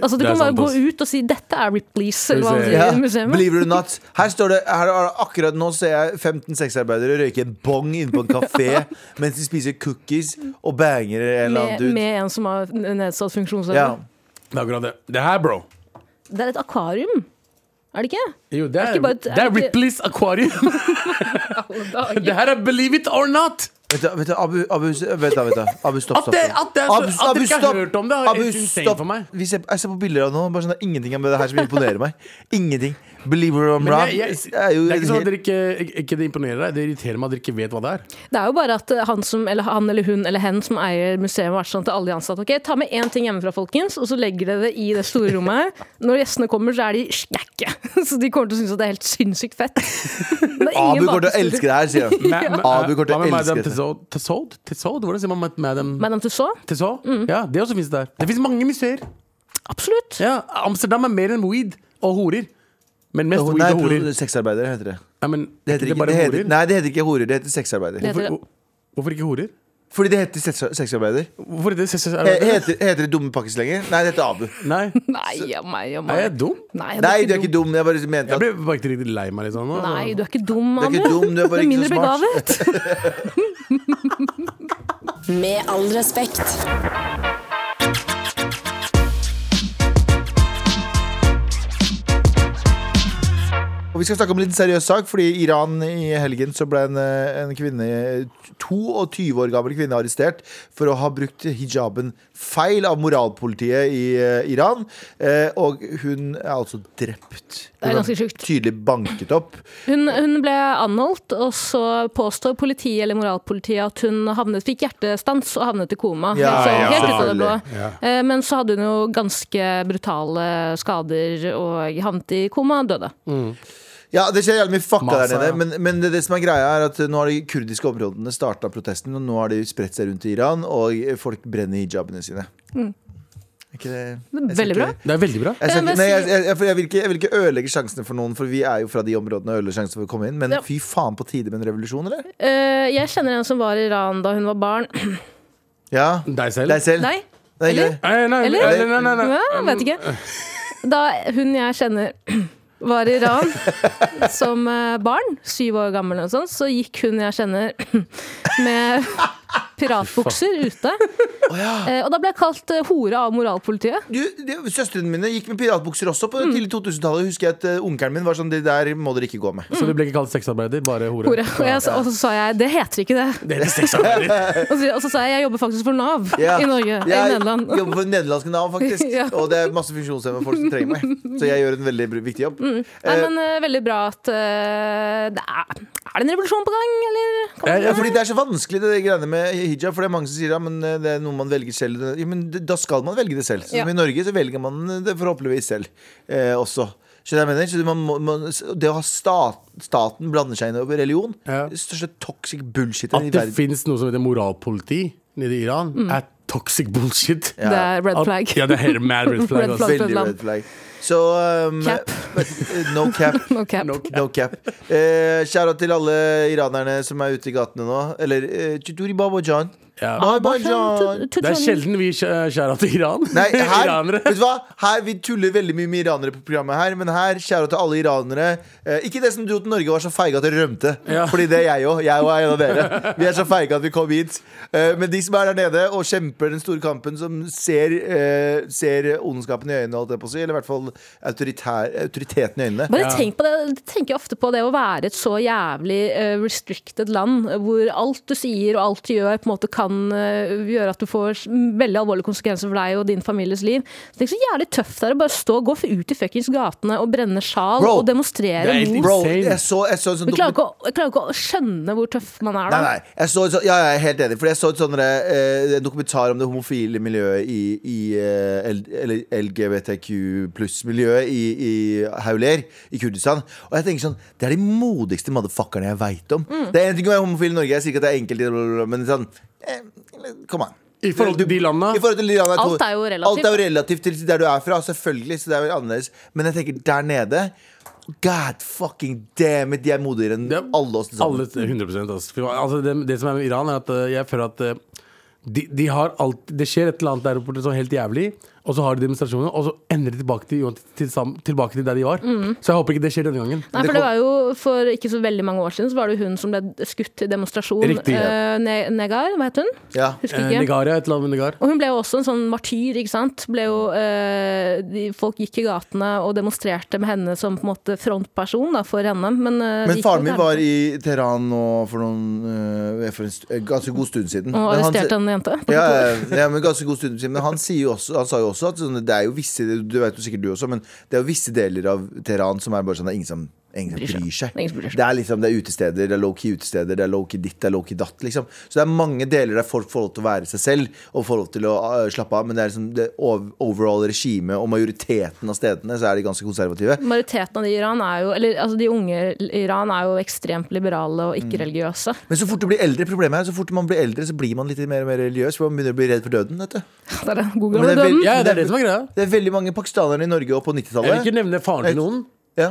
[SPEAKER 4] Altså, Du
[SPEAKER 3] Det er
[SPEAKER 4] kan bare
[SPEAKER 3] sant,
[SPEAKER 4] gå
[SPEAKER 3] ass.
[SPEAKER 4] ut og si 'dette er Ripley's', eller hva
[SPEAKER 3] Skal
[SPEAKER 4] man
[SPEAKER 3] vi se.
[SPEAKER 4] sier
[SPEAKER 2] Ja,
[SPEAKER 4] i museet.
[SPEAKER 2] believe it or not. Her står det her er det Akkurat nå ser jeg 15 sexarbeidere røyke en bong inne på en kafé mens de spiser cookies og banger en eller
[SPEAKER 4] Med,
[SPEAKER 2] annen dude.
[SPEAKER 4] med en som har n- nedsatt funksjonsevne.
[SPEAKER 2] Ja.
[SPEAKER 3] Det er akkurat det. Det her, bro.
[SPEAKER 4] Det er et akvarium, er det ikke?
[SPEAKER 3] Jo, det er,
[SPEAKER 4] ikke bare et-
[SPEAKER 3] det er
[SPEAKER 4] er det-
[SPEAKER 3] Ripley's Aquarium. det her er Believe It Or Not.
[SPEAKER 2] Vent da, vent da, Abu, Abu, vent da, vent da. Abu, stopp,
[SPEAKER 3] At
[SPEAKER 2] stopp.
[SPEAKER 3] det-
[SPEAKER 2] stopp.
[SPEAKER 3] at det er så- at dere ikke har
[SPEAKER 2] stopp.
[SPEAKER 3] hørt om det, er
[SPEAKER 2] Abu,
[SPEAKER 3] helt insane
[SPEAKER 2] stopp.
[SPEAKER 3] for meg.
[SPEAKER 2] Vi ser, jeg ser på bilder av noe, bare sånn, det er ingenting med det her som imponerer meg. Ingenting. Believe it or
[SPEAKER 3] Men
[SPEAKER 2] not.
[SPEAKER 3] jeg, jeg, det
[SPEAKER 2] er jo
[SPEAKER 3] er ikke sånn
[SPEAKER 2] helt-
[SPEAKER 3] at dere ikke, ikke- ikke det imponerer deg. Det irriterer meg at dere ikke vet hva det er.
[SPEAKER 4] Det er jo bare at eh, han, som, eller han eller hun eller hen som eier museet, har vært sånn til alle de ansatte. Ok, Ta med én ting hjemmefra, folkens, og så legger dere det i det store rommet her. Når gjestene kommer, så er de skække. Så de kommer til å synes at det er helt sinnssykt fett. Det er ingen
[SPEAKER 2] Abu kommer til å
[SPEAKER 4] bakhistorie.
[SPEAKER 2] elske det her, sier han.
[SPEAKER 3] Ma- ma-
[SPEAKER 2] Abu kommer til
[SPEAKER 3] Hva med
[SPEAKER 2] å
[SPEAKER 3] Madame
[SPEAKER 2] elske det.
[SPEAKER 3] Tussaud? Tussaud? Tussaud? Hvordan sier man mad- Madame
[SPEAKER 4] Madame Tussaud?
[SPEAKER 3] Tussaud?
[SPEAKER 4] Mm.
[SPEAKER 3] Ja, det også fins der. Det fins mange museer.
[SPEAKER 4] Absolutt.
[SPEAKER 3] Ja, Amsterdam er mer enn weed og horer. Men mest
[SPEAKER 2] Hun-
[SPEAKER 3] weed
[SPEAKER 2] Nei,
[SPEAKER 3] og horer.
[SPEAKER 2] pro- sexarbeidere heter det.
[SPEAKER 3] Nei, men
[SPEAKER 2] Det heter,
[SPEAKER 3] er
[SPEAKER 2] ikke,
[SPEAKER 3] bare
[SPEAKER 2] det heter,
[SPEAKER 3] horer?
[SPEAKER 2] nei, det heter ikke horer, det heter sexarbeidere.
[SPEAKER 4] Det heter-
[SPEAKER 3] Hvorfor, hvorfor ikke horer?
[SPEAKER 2] Fordi det heter sex- sexarbeider.
[SPEAKER 3] Hvorfor er det
[SPEAKER 2] He-
[SPEAKER 3] sexarbeidere?
[SPEAKER 2] Heter, heter det dumme pakkeslenger? Nei, det heter Abu.
[SPEAKER 3] Nei,
[SPEAKER 4] Nei, ja, meg, ja,
[SPEAKER 3] er
[SPEAKER 4] meg.
[SPEAKER 3] jeg dum?
[SPEAKER 4] Nei,
[SPEAKER 2] Nei, du er ikke dum. Jeg bare mente
[SPEAKER 3] Jeg
[SPEAKER 2] at
[SPEAKER 3] ble faktisk riktig lei meg litt sånn nå.
[SPEAKER 4] Nei, du er ikke dum,
[SPEAKER 2] Du er ikke
[SPEAKER 4] Abu.
[SPEAKER 2] dum, du er bare ikke så
[SPEAKER 4] mindre
[SPEAKER 2] smart.
[SPEAKER 4] begavet.
[SPEAKER 7] Med all respekt.
[SPEAKER 2] Og vi skal snakke om en liten seriøs sak, fordi i Iran i helgen så ble en, eh, en kvinne, 22 år gammel kvinne, arrestert for å ha brukt hijaben feil av moralpolitiet i eh, Iran. Eh, Og hun er altså drept.
[SPEAKER 4] Det er
[SPEAKER 2] Hun
[SPEAKER 4] ganske sjukt.
[SPEAKER 2] Tydelig banket opp.
[SPEAKER 4] Hun, hun ble anholdt, og så påstår politiet eller moralpolitiet at hun havnet, fikk hjertestans og havnet i koma.
[SPEAKER 2] Ja,
[SPEAKER 4] helt, så,
[SPEAKER 2] ja,
[SPEAKER 4] helt ut av det blå.
[SPEAKER 2] selvfølgelig.
[SPEAKER 4] Eh, Men så hadde hun jo ganske brutale skader og havnet i koma og døde.
[SPEAKER 2] Ja, det skjer jævlig mye fucka
[SPEAKER 3] Masa,
[SPEAKER 2] der nede.
[SPEAKER 3] ja.
[SPEAKER 2] Men, men det, det som er greia er at nå har de kurdiske områdene starta protesten, og nå har de spredt seg rundt i Iran, og folk brenner hijabene sine. Er ikke det jeg ser
[SPEAKER 4] Mm. Veldig
[SPEAKER 2] ikke-
[SPEAKER 4] bra.
[SPEAKER 3] Det er veldig bra.
[SPEAKER 2] Jeg, skal,
[SPEAKER 4] Ja,
[SPEAKER 2] ikke-
[SPEAKER 4] men
[SPEAKER 2] nei, jeg,
[SPEAKER 4] si-
[SPEAKER 2] jeg, jeg, jeg, vil ikke, jeg vil ikke ødelegge sjansene for noen, for vi er jo fra de områdene og ødelegger sjansene for å komme inn. Men
[SPEAKER 4] Ja.
[SPEAKER 2] fy faen på tide med en revolusjon, eller?
[SPEAKER 4] Eh, Jeg kjenner en som var i Iran da hun var barn.
[SPEAKER 2] Ja.
[SPEAKER 3] Deg selv?
[SPEAKER 2] Deg selv.
[SPEAKER 4] Nei,
[SPEAKER 2] Nei, ikke
[SPEAKER 4] eller?
[SPEAKER 2] det.
[SPEAKER 3] Nei, nei,
[SPEAKER 4] Eller?
[SPEAKER 3] nei, nei, nei, nei.
[SPEAKER 4] ja, vet ikke. Da hun jeg kjenner var i Iran som eh, barn, syv år gammel og sånn, så gikk hun jeg kjenner med piratbukser ute. Eh, Og da ble jeg kalt eh, hore av moralpolitiet.
[SPEAKER 2] Du, det, Søstrene mine gikk med piratbukser også
[SPEAKER 4] Mm.
[SPEAKER 2] på tidlig 2000-tallet. Husker jeg at eh, Onkelen min var sånn Det der må dere ikke gå med.
[SPEAKER 4] Mm,
[SPEAKER 3] Så du ble ikke kalt sexarbeider, bare hore?
[SPEAKER 4] Hore. Og, jeg, sa- og så sa jeg det heter ikke det.
[SPEAKER 3] Det er sexarbeider.
[SPEAKER 4] Og så, og så sa jeg jeg jobber faktisk for Nav
[SPEAKER 2] Ja.
[SPEAKER 4] i Norge. I
[SPEAKER 2] Jeg
[SPEAKER 4] Nederland.
[SPEAKER 2] jobber for nederlandske Nav, faktisk.
[SPEAKER 4] Ja.
[SPEAKER 2] Og det er masse funksjonshemmede folk som trenger meg. Så jeg gjør en veldig br- viktig jobb.
[SPEAKER 4] Nei, men eh, veldig bra at eh, det er, er det en revolusjon på gang, eller? Kan
[SPEAKER 3] Jeg-
[SPEAKER 2] Ja,
[SPEAKER 3] jeg-
[SPEAKER 2] fordi Det er så vanskelig det greiene med hijab. For det er mange som sier ja, men eh, det er noe man velger selv. Ja, men d- da skal man velge det selv. Som
[SPEAKER 4] Ja.
[SPEAKER 2] i Norge så velger man det forhåpentligvis selv eh, også. Skjønner jeg hva jeg mener? Så man, må- man, s- det å ha stat, staten blander seg inn over religion,
[SPEAKER 3] Ja.
[SPEAKER 2] det største toxic bullshit
[SPEAKER 3] At
[SPEAKER 2] i
[SPEAKER 3] det
[SPEAKER 2] verden.
[SPEAKER 3] fins noe som heter moralpoliti nede i Iran, er toxic bullshit.
[SPEAKER 4] Det er red
[SPEAKER 3] At-
[SPEAKER 4] flag.
[SPEAKER 3] Ja, det er helt mad red flag. altså.
[SPEAKER 4] Red
[SPEAKER 3] ass.
[SPEAKER 4] flag.
[SPEAKER 2] Veldig
[SPEAKER 4] land.
[SPEAKER 2] red flag. Så um,
[SPEAKER 4] Cap.
[SPEAKER 2] but, eh, No cap.
[SPEAKER 4] No cap.
[SPEAKER 2] No cap. Eh, Kjære til alle iranerne som er ute i gatene nå. Eller eh, Tuturi Baba John.
[SPEAKER 3] Ja.
[SPEAKER 2] Baba
[SPEAKER 4] To-
[SPEAKER 2] John.
[SPEAKER 4] to
[SPEAKER 3] Det er
[SPEAKER 4] Trondheim.
[SPEAKER 3] sjelden vi skjærer til Iran.
[SPEAKER 2] Nei, her,
[SPEAKER 3] Iranere.
[SPEAKER 2] vet du hva? her, Vi tuller veldig mye med iranere på programmet her, men her, kjære til alle iranere eh, Ikke det som dro til Norge og var så feige at dere rømte.
[SPEAKER 3] Ja.
[SPEAKER 2] Fordi det er jeg òg. Jeg og en av dere. Vi er så feige at vi kom hit. Eh, men de som er der nede og kjemper den store kampen, som ser, eh, ser ondskapen i øynene, holdt jeg på å si, eller i hvert fall autoritær, autoriteten i øynene
[SPEAKER 4] Bare tenk på det. Jeg tenker ofte på det å være et så jævlig eh, restricted land, eh, hvor alt du sier og alt du gjør, på en måte kan eh, gjøre at du får s- veldig alvorlige konsekvenser for deg og din families liv. Så Tenk så jævlig tøft det er å bare stå gå ut i fuckings gatene og brenne sjal
[SPEAKER 2] Bro,
[SPEAKER 4] og demonstrere
[SPEAKER 3] det er helt
[SPEAKER 4] mot
[SPEAKER 2] Bro,
[SPEAKER 3] Insane.
[SPEAKER 2] jeg så, jeg så en sånn
[SPEAKER 4] jeg klarer, ikke å, jeg klarer ikke å skjønne hvor tøff man er da.
[SPEAKER 2] Nei, nei. Jeg så, et så, ja, jeg er helt enig. Fordi jeg så et sånn derre, eh, en dokumentar om det homofile miljøet i, i eh, L- eller LGBTQ pluss-miljøet i, i Hauler i Kurdistan. Og jeg tenker sånn Det er de modigste motherfuckerne jeg veit om.
[SPEAKER 4] Mm.
[SPEAKER 2] Det er en ting å være homofil i Norge, jeg sier ikke at det er enkelt, i det, bla, bla, bla, men sånn eh, Kom an.
[SPEAKER 3] I forhold til de landene.
[SPEAKER 2] I forhold til de landene jeg
[SPEAKER 4] Alt
[SPEAKER 2] tror-
[SPEAKER 4] er jo relativt.
[SPEAKER 2] Alt er jo relativt til der du er fra, selvfølgelig. Så det er vel annerledes Men jeg tenker der nede God fucking damn it, de er modigere enn
[SPEAKER 3] Det er-
[SPEAKER 2] alle oss. liksom. til
[SPEAKER 4] Sånn.
[SPEAKER 2] sammen.
[SPEAKER 3] Alle 100 altså. Fy faen, altså det, det som er med Iran, er at eh, jeg føler at eh, de, de har alt, det skjer et eller annet der borte som er helt jævlig, og så har de demonstrasjoner, og så ender de tilbake til, til, sam- tilbake til der de var. Så jeg håper ikke det skjer denne gangen.
[SPEAKER 4] Mm. Nei, for det var jo For ikke så veldig mange år siden Så var det jo hun som ble skutt i demonstrasjon.
[SPEAKER 3] Riktig, ja.
[SPEAKER 4] Eh, Ne Negar, hva het hun?
[SPEAKER 2] Ja.
[SPEAKER 4] Husker
[SPEAKER 3] Eh,
[SPEAKER 4] ikke.
[SPEAKER 3] Negar, ja. Et eller annet med Negar.
[SPEAKER 4] Og hun ble jo også en sånn martyr, ikke sant. Ble jo, eh, de, folk gikk i gatene og demonstrerte med henne som på en måte frontperson da, for henne. Men, eh, de
[SPEAKER 2] Men
[SPEAKER 4] gikk
[SPEAKER 2] faren
[SPEAKER 4] jo
[SPEAKER 2] min
[SPEAKER 4] der.
[SPEAKER 2] var i Teheran nå for, noen, eh, for en st- eh, ganske god stund siden.
[SPEAKER 4] Og
[SPEAKER 2] Men han
[SPEAKER 4] arresterte
[SPEAKER 2] se-
[SPEAKER 4] en jente.
[SPEAKER 2] Ja, ja, ja, men ganske god stund siden Men han, sier jo også, han sa jo også at sånn, det er jo visse Du vet jo sikkert du også, men det er jo visse deler av Teheran som er bare sånn Det er ingen som, ingen som bryr seg.
[SPEAKER 4] Ingen som bryr seg.
[SPEAKER 2] Det er liksom, det er utesteder, det er low-key utesteder, det er low-key ditt, det er low-key datt. Liksom. Så det er mange deler der folk får lov til å være seg selv og får lov til å eh, slappe av, men det er liksom det ov- overall regimet og majoriteten av stedene, så er de ganske konservative.
[SPEAKER 4] Majoriteten av de i Iran er jo Eller altså, de unge i Iran er jo ekstremt liberale og
[SPEAKER 2] Mm.
[SPEAKER 4] ikke-religiøse.
[SPEAKER 2] Men så fort du blir eldre, problemet er så fort man blir eldre, så blir man litt mer og mer religiøs. For man begynner å bli redd for døden. Vet du.
[SPEAKER 4] Det er god
[SPEAKER 2] Men
[SPEAKER 4] gammel
[SPEAKER 2] det er
[SPEAKER 4] døden.
[SPEAKER 2] veldig-
[SPEAKER 3] Ja, det er det som er greia.
[SPEAKER 2] Det er veldig mange pakistanere i Norge og på
[SPEAKER 3] Jeg vil
[SPEAKER 2] 90-tallet.
[SPEAKER 3] ikke nevne faren til noen,
[SPEAKER 2] Ja.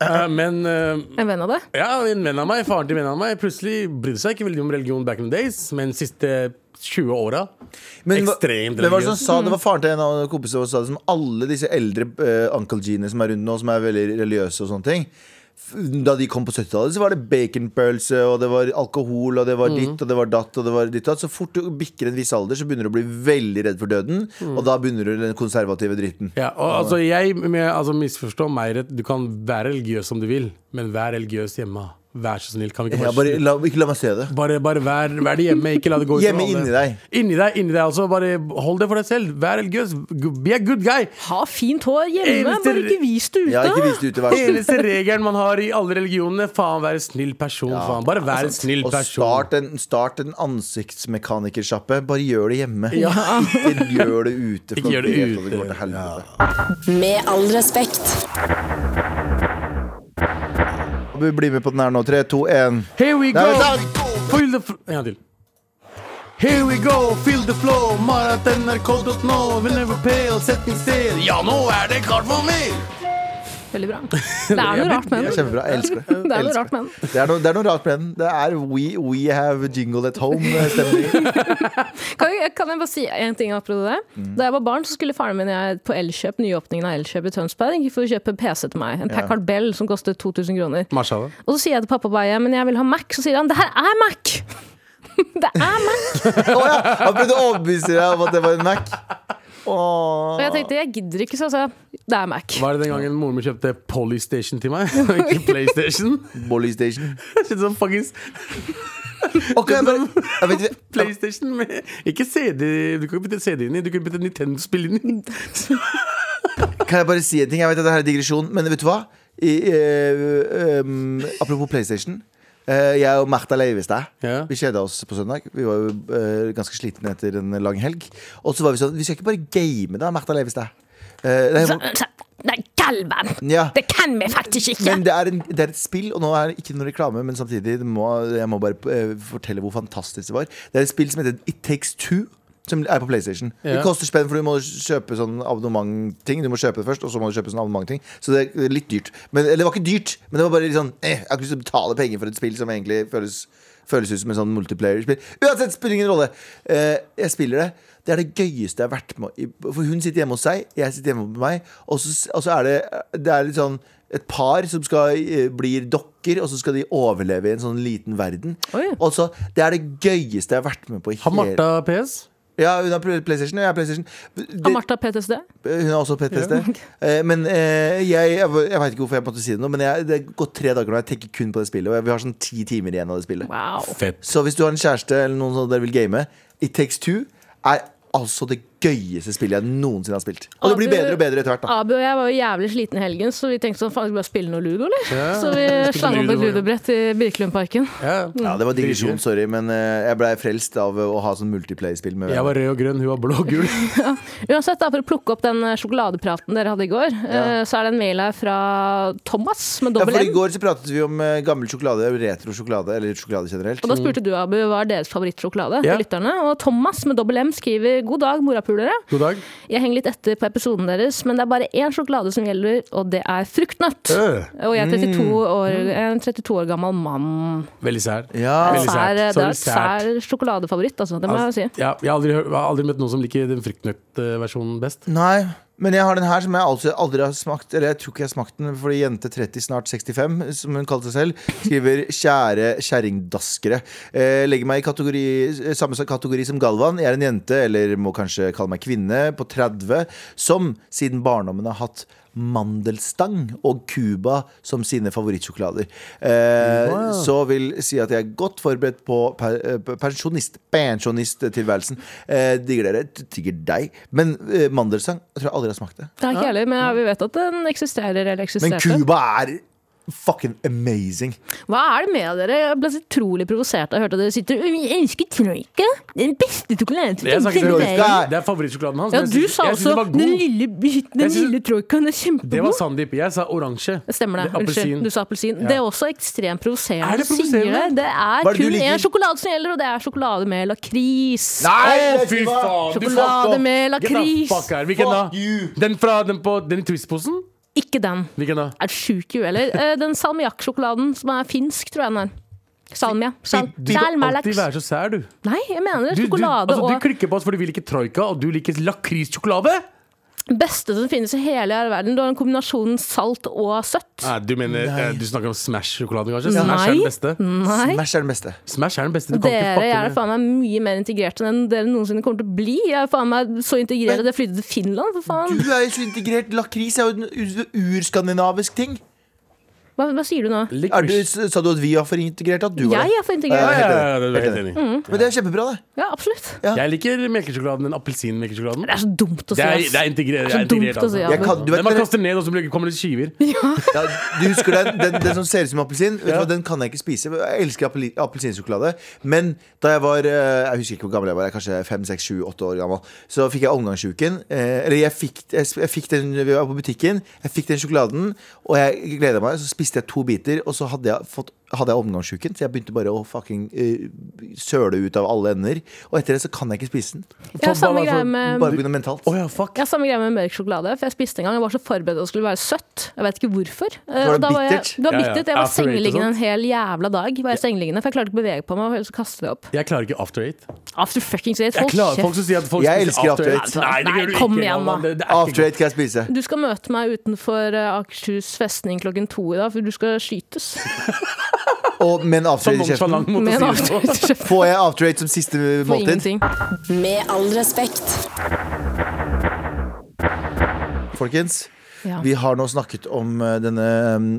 [SPEAKER 3] eh, men eh,
[SPEAKER 4] En venn av det.
[SPEAKER 3] Ja, en venn av meg, faren til en venn av meg Plutselig brydde seg ikke veldig om religion back in the days Men de siste 20 åra
[SPEAKER 2] Men, hva-
[SPEAKER 3] Ekstremt
[SPEAKER 2] men hva var det, som
[SPEAKER 3] religiøs.
[SPEAKER 2] sa, det var faren til en av kompisene som sa det som alle disse eldre eh, Uncle Gene som er rundt nå, som er veldig religiøse og sånne ting. f- Da de kom på 70-tallet, så var det baconpølse, og det var alkohol, og det
[SPEAKER 3] Mm.
[SPEAKER 2] var ditt, og det var datt, og det var ditt og datt. Så fort du bikker en viss alder, så begynner du å bli veldig redd for døden, og da begynner du den konservative dritten.
[SPEAKER 3] Mm. ja, og, altså, Jeg med, altså, misforstå meg rett Du kan være religiøs som du vil Men vær religiøs hjemme Vær så snill, kan vi ikke
[SPEAKER 2] Ja, bare,
[SPEAKER 3] bare,
[SPEAKER 2] la, ikke la meg se det.
[SPEAKER 3] bare, bare vær, vær det hjemme, ikke la det gå ut
[SPEAKER 2] Hjemme inni deg.
[SPEAKER 3] Inni deg, inni deg altså, Bare hold det for deg selv, vær religiøs gu- Be a good guy
[SPEAKER 4] Ha fint hår hjemme,
[SPEAKER 3] Eneste-
[SPEAKER 4] bare ikke vis det ute.
[SPEAKER 2] Ja, ikke vis det ute, vær så snill.
[SPEAKER 3] Eneste regelen man har i alle religionene Faen, vær en snill person faen. Bare vær en snill
[SPEAKER 2] Altså, Og
[SPEAKER 3] person
[SPEAKER 2] start en, start en ansiktsmekanikersjappe. Bare gjør det hjemme. Ikke gjør det ute.
[SPEAKER 3] Ikke gjør det
[SPEAKER 2] du vet at
[SPEAKER 3] ute.
[SPEAKER 2] går til helvete.
[SPEAKER 7] Med all respekt.
[SPEAKER 2] Vi blir med på den her nå. Tre, to, én.
[SPEAKER 3] Here we
[SPEAKER 2] Nei,
[SPEAKER 3] go
[SPEAKER 2] vent da.
[SPEAKER 3] Feel the fl- En gang til. Here we go, feel the flow. Maraton.nrk.no. Will never pale, setting still. Ja, nå er det klart for mer!
[SPEAKER 4] Veldig bra. Det er noe rart med
[SPEAKER 2] Det er
[SPEAKER 4] den.
[SPEAKER 2] Kjempebra. Jeg elsker det.
[SPEAKER 4] Det er noe
[SPEAKER 2] Elsker
[SPEAKER 4] rart med den.
[SPEAKER 2] det. Det er noe, det er noe rart med den. Det er We, we have jingle at eh, home-stemning.
[SPEAKER 4] Kan jeg, kan jeg bare si en ting apropos det?
[SPEAKER 3] Mm.
[SPEAKER 4] Da jeg var barn, så skulle faren min og jeg på Elkjøp, nyåpningen av Elkjøp i Tønsberg for å kjøpe PC til meg. En Packard Bell som kostet 2000 kroner.
[SPEAKER 3] Mashallah.
[SPEAKER 4] Og så sier jeg til pappa bare, men jeg vil ha Mac. Så sier han det her er Mac! Det er meg!
[SPEAKER 2] Å ja, han prøvde å overbevise deg om at det var en Mac.
[SPEAKER 4] Og jeg tenkte, jeg gidder ikke, så jeg sa det er Mac.
[SPEAKER 3] Var det den gangen moren min kjøpte Polystation til meg? og Ikke PlayStation?
[SPEAKER 2] Bolly Station.
[SPEAKER 3] Jeg kjente sånn fuckings
[SPEAKER 2] Ok, jeg bare, jeg vet, ikke-
[SPEAKER 3] PlayStation med Ikke CD, du kan ikke bytte CD inn i, du kan bytte Nintendo-spill inn i.
[SPEAKER 2] Kan jeg bare si en ting? Jeg vet at det her er digresjon, men vet du hva? I, eh, um, apropos PlayStation. Eh, jeg og Märtha Leivestad
[SPEAKER 3] Ja.
[SPEAKER 2] Vi kjeda oss på søndag. Vi var jo eh, ganske slitne etter en lang helg. Og så var vi sånn Vi skal ikke bare game, da, Märtha Leivestad. Eh, nei, hun-
[SPEAKER 4] Nei, kalven!
[SPEAKER 2] ja.
[SPEAKER 4] Det kan vi faktisk ikke!
[SPEAKER 2] Men det er, en, det er et spill, og nå er det ikke noe reklame, men samtidig det må, jeg må bare eh, fortelle hvor fantastisk det var. Det er et spill som heter It Takes Two. Som er på PlayStation.
[SPEAKER 3] Ja.
[SPEAKER 2] Det koster spenn, for du må kjøpe sånn abonnementting. Du må kjøpe det først, og så må du kjøpe sånn abonnementting. Så det er litt dyrt. Men, eller det var ikke dyrt, men det var bare litt sånn eh, Jeg har ikke lyst til å betale penger for et spill som egentlig føles, føles ut som en sånn multiplayer-spill. Uansett, spiller ingen rolle. Eh, jeg spiller det. Det er det gøyeste jeg har vært med i. For hun sitter hjemme hos seg, jeg sitter hjemme med meg, og så, og så er det, det er litt sånn et par som skal, eh, blir dokker, og så skal de overleve i en sånn liten verden.
[SPEAKER 4] Oi.
[SPEAKER 2] Og så, Det er det gøyeste jeg har vært med på. i
[SPEAKER 3] Har
[SPEAKER 2] hele-
[SPEAKER 3] Martha PS?
[SPEAKER 2] Ja, Hun har PlayStation, og jeg har PlayStation.
[SPEAKER 4] Har
[SPEAKER 2] Det,
[SPEAKER 4] Martha PTSD?
[SPEAKER 2] hun har også PTSD. Eh, Men eh, jeg, jeg, jeg veit ikke hvorfor jeg måtte si det nå, men jeg, det har gått tre dager nå, jeg tenker kun på det spillet. Og jeg- vi har sånn ti timer igjen av det spillet.
[SPEAKER 4] Wow.
[SPEAKER 3] Fett.
[SPEAKER 2] Så hvis du har en kjæreste eller noen som dere vil game, It Takes Two er altså det gøyeste spillet jeg noensinne har spilt. Og det blir
[SPEAKER 4] Abu-
[SPEAKER 2] bedre og bedre etter hvert. da
[SPEAKER 4] Abu og jeg var jo jævlig sliten i helgen, så vi tenkte sånn, faen, skal vi bare spille noe ludo, eller?
[SPEAKER 3] Ja,
[SPEAKER 4] så vi
[SPEAKER 3] spilte
[SPEAKER 4] slang opp et
[SPEAKER 3] ludo, ja.
[SPEAKER 4] ludobrett i Birkelundparken.
[SPEAKER 3] Ja.
[SPEAKER 2] Ja, Det var digresjon, sorry, men eh, jeg blei frelst av eh, å ha sånn multiplayer-spill med
[SPEAKER 3] Jeg var rød og grønn, hun var blå og gul.
[SPEAKER 4] Uansett, da, for å plukke opp den eh, sjokoladepraten dere hadde i går, eh, så er det en mail her fra Thomas med
[SPEAKER 2] Ja,
[SPEAKER 4] dobbel
[SPEAKER 2] for I
[SPEAKER 4] N.
[SPEAKER 2] går så pratet vi om eh, gammel sjokolade, retro sjokolade, eller sjokolade generelt.
[SPEAKER 4] Og da spurte du, Abu, hva er deres favorittsjokolade?
[SPEAKER 3] Ja.
[SPEAKER 4] for lytterne? Og Thomas med dobbel M skriver God dag, morapulere.
[SPEAKER 3] God dag.
[SPEAKER 4] Jeg henger litt etter på episoden deres, men det er bare én sjokolade som gjelder, og det er fruktnøtt.
[SPEAKER 3] Øh.
[SPEAKER 4] Og jeg er 32 år, en 32 år gammel mann.
[SPEAKER 3] Veldig sær.
[SPEAKER 2] Ja.
[SPEAKER 3] Veldig
[SPEAKER 4] Sær,
[SPEAKER 3] sært.
[SPEAKER 4] det er
[SPEAKER 3] Sorry,
[SPEAKER 4] en sær sjokoladefavoritt, altså. Det må jeg jo si.
[SPEAKER 3] Ja, jeg har aldri, hørt- jeg har aldri møtt noen som liker den fruktnøttversjonen best.
[SPEAKER 2] Nei, men jeg har den her som jeg altså aldri har smakt. Eller jeg tror ikke jeg har smakt den, fordi jente 30, snart 65, som hun kalte seg selv, skriver 'kjære kjerringdaskere'. Eh, legger meg i kategori, samme som- kategori som Galvan. Jeg er en jente, eller må kanskje kalle meg kvinne, på 30, som siden barndommen har hatt Mandelstang og Cuba som sine favorittsjokolader. Eh, Så vil si at jeg er godt forberedt på per, eh, pensjonist, pensjonisttilværelsen. Eh, digger dere, t- digger deg. Men eh, mandelstang jeg tror jeg aldri har smakt det.
[SPEAKER 4] Det er ikke jeg heller, men ja, vi vet at den eksisterer eller
[SPEAKER 2] Men
[SPEAKER 4] eksisterte.
[SPEAKER 2] Cuba er fucking amazing.
[SPEAKER 4] Hva er det med dere? Jeg ble så utrolig provosert. Jeg hørte at dere sitter og «Vi elsker troika. Den beste sjokoladen
[SPEAKER 3] Jeg
[SPEAKER 4] som
[SPEAKER 3] snakket
[SPEAKER 4] finnes
[SPEAKER 3] om
[SPEAKER 4] i
[SPEAKER 2] Troika.
[SPEAKER 4] verden.
[SPEAKER 2] Nei.
[SPEAKER 3] Det er favorittsjokoladen hans.
[SPEAKER 4] Ja,
[SPEAKER 3] men jeg
[SPEAKER 4] du
[SPEAKER 3] synes-
[SPEAKER 4] sa
[SPEAKER 3] jeg synes
[SPEAKER 4] også
[SPEAKER 3] den var
[SPEAKER 4] den
[SPEAKER 3] god.
[SPEAKER 4] lille, biten- den
[SPEAKER 3] Jeg synes-
[SPEAKER 4] lille troikaen er
[SPEAKER 3] Det var
[SPEAKER 4] kjempegod.
[SPEAKER 3] Sandeep. Jeg sa oransje.
[SPEAKER 4] Stemmer det.
[SPEAKER 3] er
[SPEAKER 4] Unnskyld,
[SPEAKER 3] Appelsin.
[SPEAKER 4] du sa appelsin. Det er også ekstremt provoserende.
[SPEAKER 3] Er det
[SPEAKER 4] Du sier
[SPEAKER 3] provoserende?
[SPEAKER 4] Det, det er
[SPEAKER 2] Hva er det du
[SPEAKER 4] kun
[SPEAKER 2] liker?
[SPEAKER 4] én sjokolade som gjelder, og det er sjokolade med lakris.
[SPEAKER 3] Nei,
[SPEAKER 2] Å,
[SPEAKER 3] fy
[SPEAKER 2] fy
[SPEAKER 3] faen! du
[SPEAKER 4] Sjokolade
[SPEAKER 3] fuck off.
[SPEAKER 4] med lakris.
[SPEAKER 3] Get the fuck her. Hvilken da?
[SPEAKER 2] Fuck you.
[SPEAKER 3] Den fra den på den i Twist-posen?
[SPEAKER 4] Ikke den.
[SPEAKER 3] Hvilken da?
[SPEAKER 4] Er du sjuk i huet, eller? Eh, Den salmiakksjokoladen som er finsk, tror jeg den er. Salmia. Sal
[SPEAKER 3] Du kan alltid
[SPEAKER 4] Salmalaks.
[SPEAKER 3] være så sær, du.
[SPEAKER 4] Nei, jeg mener
[SPEAKER 3] Du, du,
[SPEAKER 4] sjokolade
[SPEAKER 3] altså, du
[SPEAKER 4] og
[SPEAKER 3] klikker på oss fordi vi liker troika, og du liker lakrissjokolade?
[SPEAKER 4] beste som finnes i hele verden. Du har en kombinasjon salt og søtt.
[SPEAKER 3] Nei, du mener eh, Du snakker om Smash-sjokolade, kanskje?
[SPEAKER 4] Nei.
[SPEAKER 3] Smash er den beste.
[SPEAKER 4] Nei.
[SPEAKER 2] Smash er den beste.
[SPEAKER 3] Smash er den beste. Du kan ikke
[SPEAKER 4] Dere jeg er
[SPEAKER 3] fucke med
[SPEAKER 4] faen meg mye mer integrert enn dere noensinne kommer til å bli. Jeg er faen meg så integrert at jeg flyttet til Finland, for faen.
[SPEAKER 2] Du er jo så integrert. Lakris er jo en u- urskandinavisk ting.
[SPEAKER 4] Hva, hva sier du nå?
[SPEAKER 2] Er du,
[SPEAKER 3] Licorice.
[SPEAKER 2] sa du at vi var for integrert? At du var
[SPEAKER 4] Jeg
[SPEAKER 2] det?
[SPEAKER 4] er for
[SPEAKER 3] Ja,
[SPEAKER 4] integrert.
[SPEAKER 3] ja, ja, ja, det er helt enig.
[SPEAKER 2] Men det er kjempebra, det.
[SPEAKER 4] Ja, absolutt.
[SPEAKER 2] Ja.
[SPEAKER 3] Jeg liker melkesjokoladen, den appelsinmelkesjokoladen.
[SPEAKER 4] Det er så dumt å
[SPEAKER 3] Det
[SPEAKER 4] si,
[SPEAKER 3] er,
[SPEAKER 4] ass.
[SPEAKER 3] det er integrert. Det
[SPEAKER 4] Så
[SPEAKER 3] er integrert
[SPEAKER 4] dumt å
[SPEAKER 3] altså.
[SPEAKER 4] si, ja.
[SPEAKER 2] Jeg kan, du vet,
[SPEAKER 3] Den man
[SPEAKER 2] dere-
[SPEAKER 3] kaster ned, og så blir- kommer det skiver.
[SPEAKER 2] Ja, du husker den, den, den som ser ut som appelsin? Vet du hva, Den kan jeg ikke spise. Jeg elsker appeli- appelsinsjokolade. Men da jeg var eh, Jeg husker ikke hvor gammel jeg var, jeg er kanskje 5-6-7-8 år gammel. Så fikk jeg omgangsuken. eh, Eller jeg fikk, jeg, s- jeg fikk den vi var på butikken. Jeg fikk den sjokoladen, og jeg gleda meg. Så spiste jeg to biter, og så hadde jeg fått hadde jeg omgangsuken, så jeg begynte bare å fucking eh, søle ut av alle ender. Og etter det så kan jeg ikke spise den.
[SPEAKER 4] Jeg har samme greie med
[SPEAKER 2] Bare begynne mentalt.
[SPEAKER 3] Å ja, fuck.
[SPEAKER 4] jeg har samme greie med mørk sjokolade, for jeg spiste en gang. Jeg var så forberedt at det skulle være søtt. Jeg vet ikke hvorfor. Eh,
[SPEAKER 2] Var det
[SPEAKER 4] og da jeg,
[SPEAKER 2] bittert?
[SPEAKER 4] det var
[SPEAKER 3] Ja, ja.
[SPEAKER 4] bittert. Jeg var
[SPEAKER 3] After eight og
[SPEAKER 4] sengeliggende
[SPEAKER 3] sånt.
[SPEAKER 4] en hel jævla dag. Var jeg sengeliggende, For jeg klarte ikke å bevege på meg, ellers så kastet jeg opp.
[SPEAKER 3] Jeg klarer ikke after eight.
[SPEAKER 4] After fucking shit.
[SPEAKER 3] Jeg
[SPEAKER 4] Hold
[SPEAKER 3] klarer, folk
[SPEAKER 4] kjeft.
[SPEAKER 3] som sier at folk
[SPEAKER 2] Jeg
[SPEAKER 3] spiser
[SPEAKER 2] elsker after
[SPEAKER 4] eight.
[SPEAKER 3] Nei, det
[SPEAKER 4] Nei,
[SPEAKER 3] gjør du
[SPEAKER 4] kom
[SPEAKER 3] ikke.
[SPEAKER 4] igjen,
[SPEAKER 3] Galvan.
[SPEAKER 4] da.
[SPEAKER 3] Det- det er ikke
[SPEAKER 2] After eight kan jeg spise.
[SPEAKER 4] Du skal møte meg utenfor eh, Akershus festning klokken to i dag, for du skal skytes.
[SPEAKER 2] Og med en
[SPEAKER 3] Sånn
[SPEAKER 2] afterrate i kjeften.
[SPEAKER 3] nonchalant mot
[SPEAKER 4] Med en
[SPEAKER 3] å si det.
[SPEAKER 4] avtale.
[SPEAKER 2] Får jeg afterrate som siste
[SPEAKER 4] For
[SPEAKER 2] måltid?
[SPEAKER 4] ingenting.
[SPEAKER 7] Med all respekt.
[SPEAKER 2] Folkens,
[SPEAKER 4] Ja.
[SPEAKER 2] vi har nå snakket om eh, denne,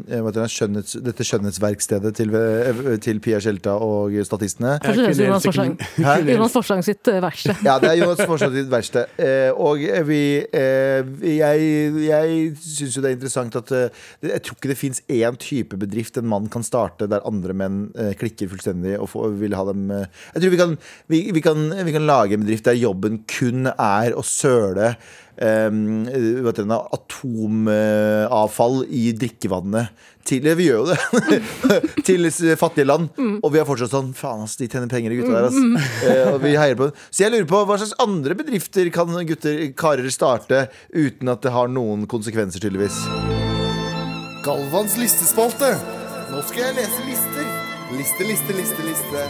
[SPEAKER 2] eh, hva heter det, skjønnhets, dette skjønnhetsverkstedet til, eh, til Pia Skjelta og statistene.
[SPEAKER 4] Jeg tror det er Jonas Forsang.
[SPEAKER 2] Hæ?
[SPEAKER 4] Jonas Forsang sitt eh, verksted.
[SPEAKER 2] Ja, det er Jonas fortsatt ditt verste. Eh, og vi eh, Jeg, jeg syns jo det er interessant at eh, Jeg tror ikke det fins én type bedrift en mann kan starte der andre menn eh, klikker fullstendig og får, vil ha dem eh. Jeg tror vi kan, vi, vi, kan, vi kan lage en bedrift der jobben kun er å søle Um, vet du, atomavfall i drikkevannet til Vi gjør jo det. til fattige land. Og vi er fortsatt sånn Faen, ass, de tjener penger, de gutta der, ass. Eh, og vi heier på dem. Så jeg lurer på hva slags andre bedrifter kan gutter, karer starte uten at det har noen konsekvenser, tydeligvis.
[SPEAKER 5] Galvans listespalte. Nå skal jeg lese lister. Liste, liste, liste, liste.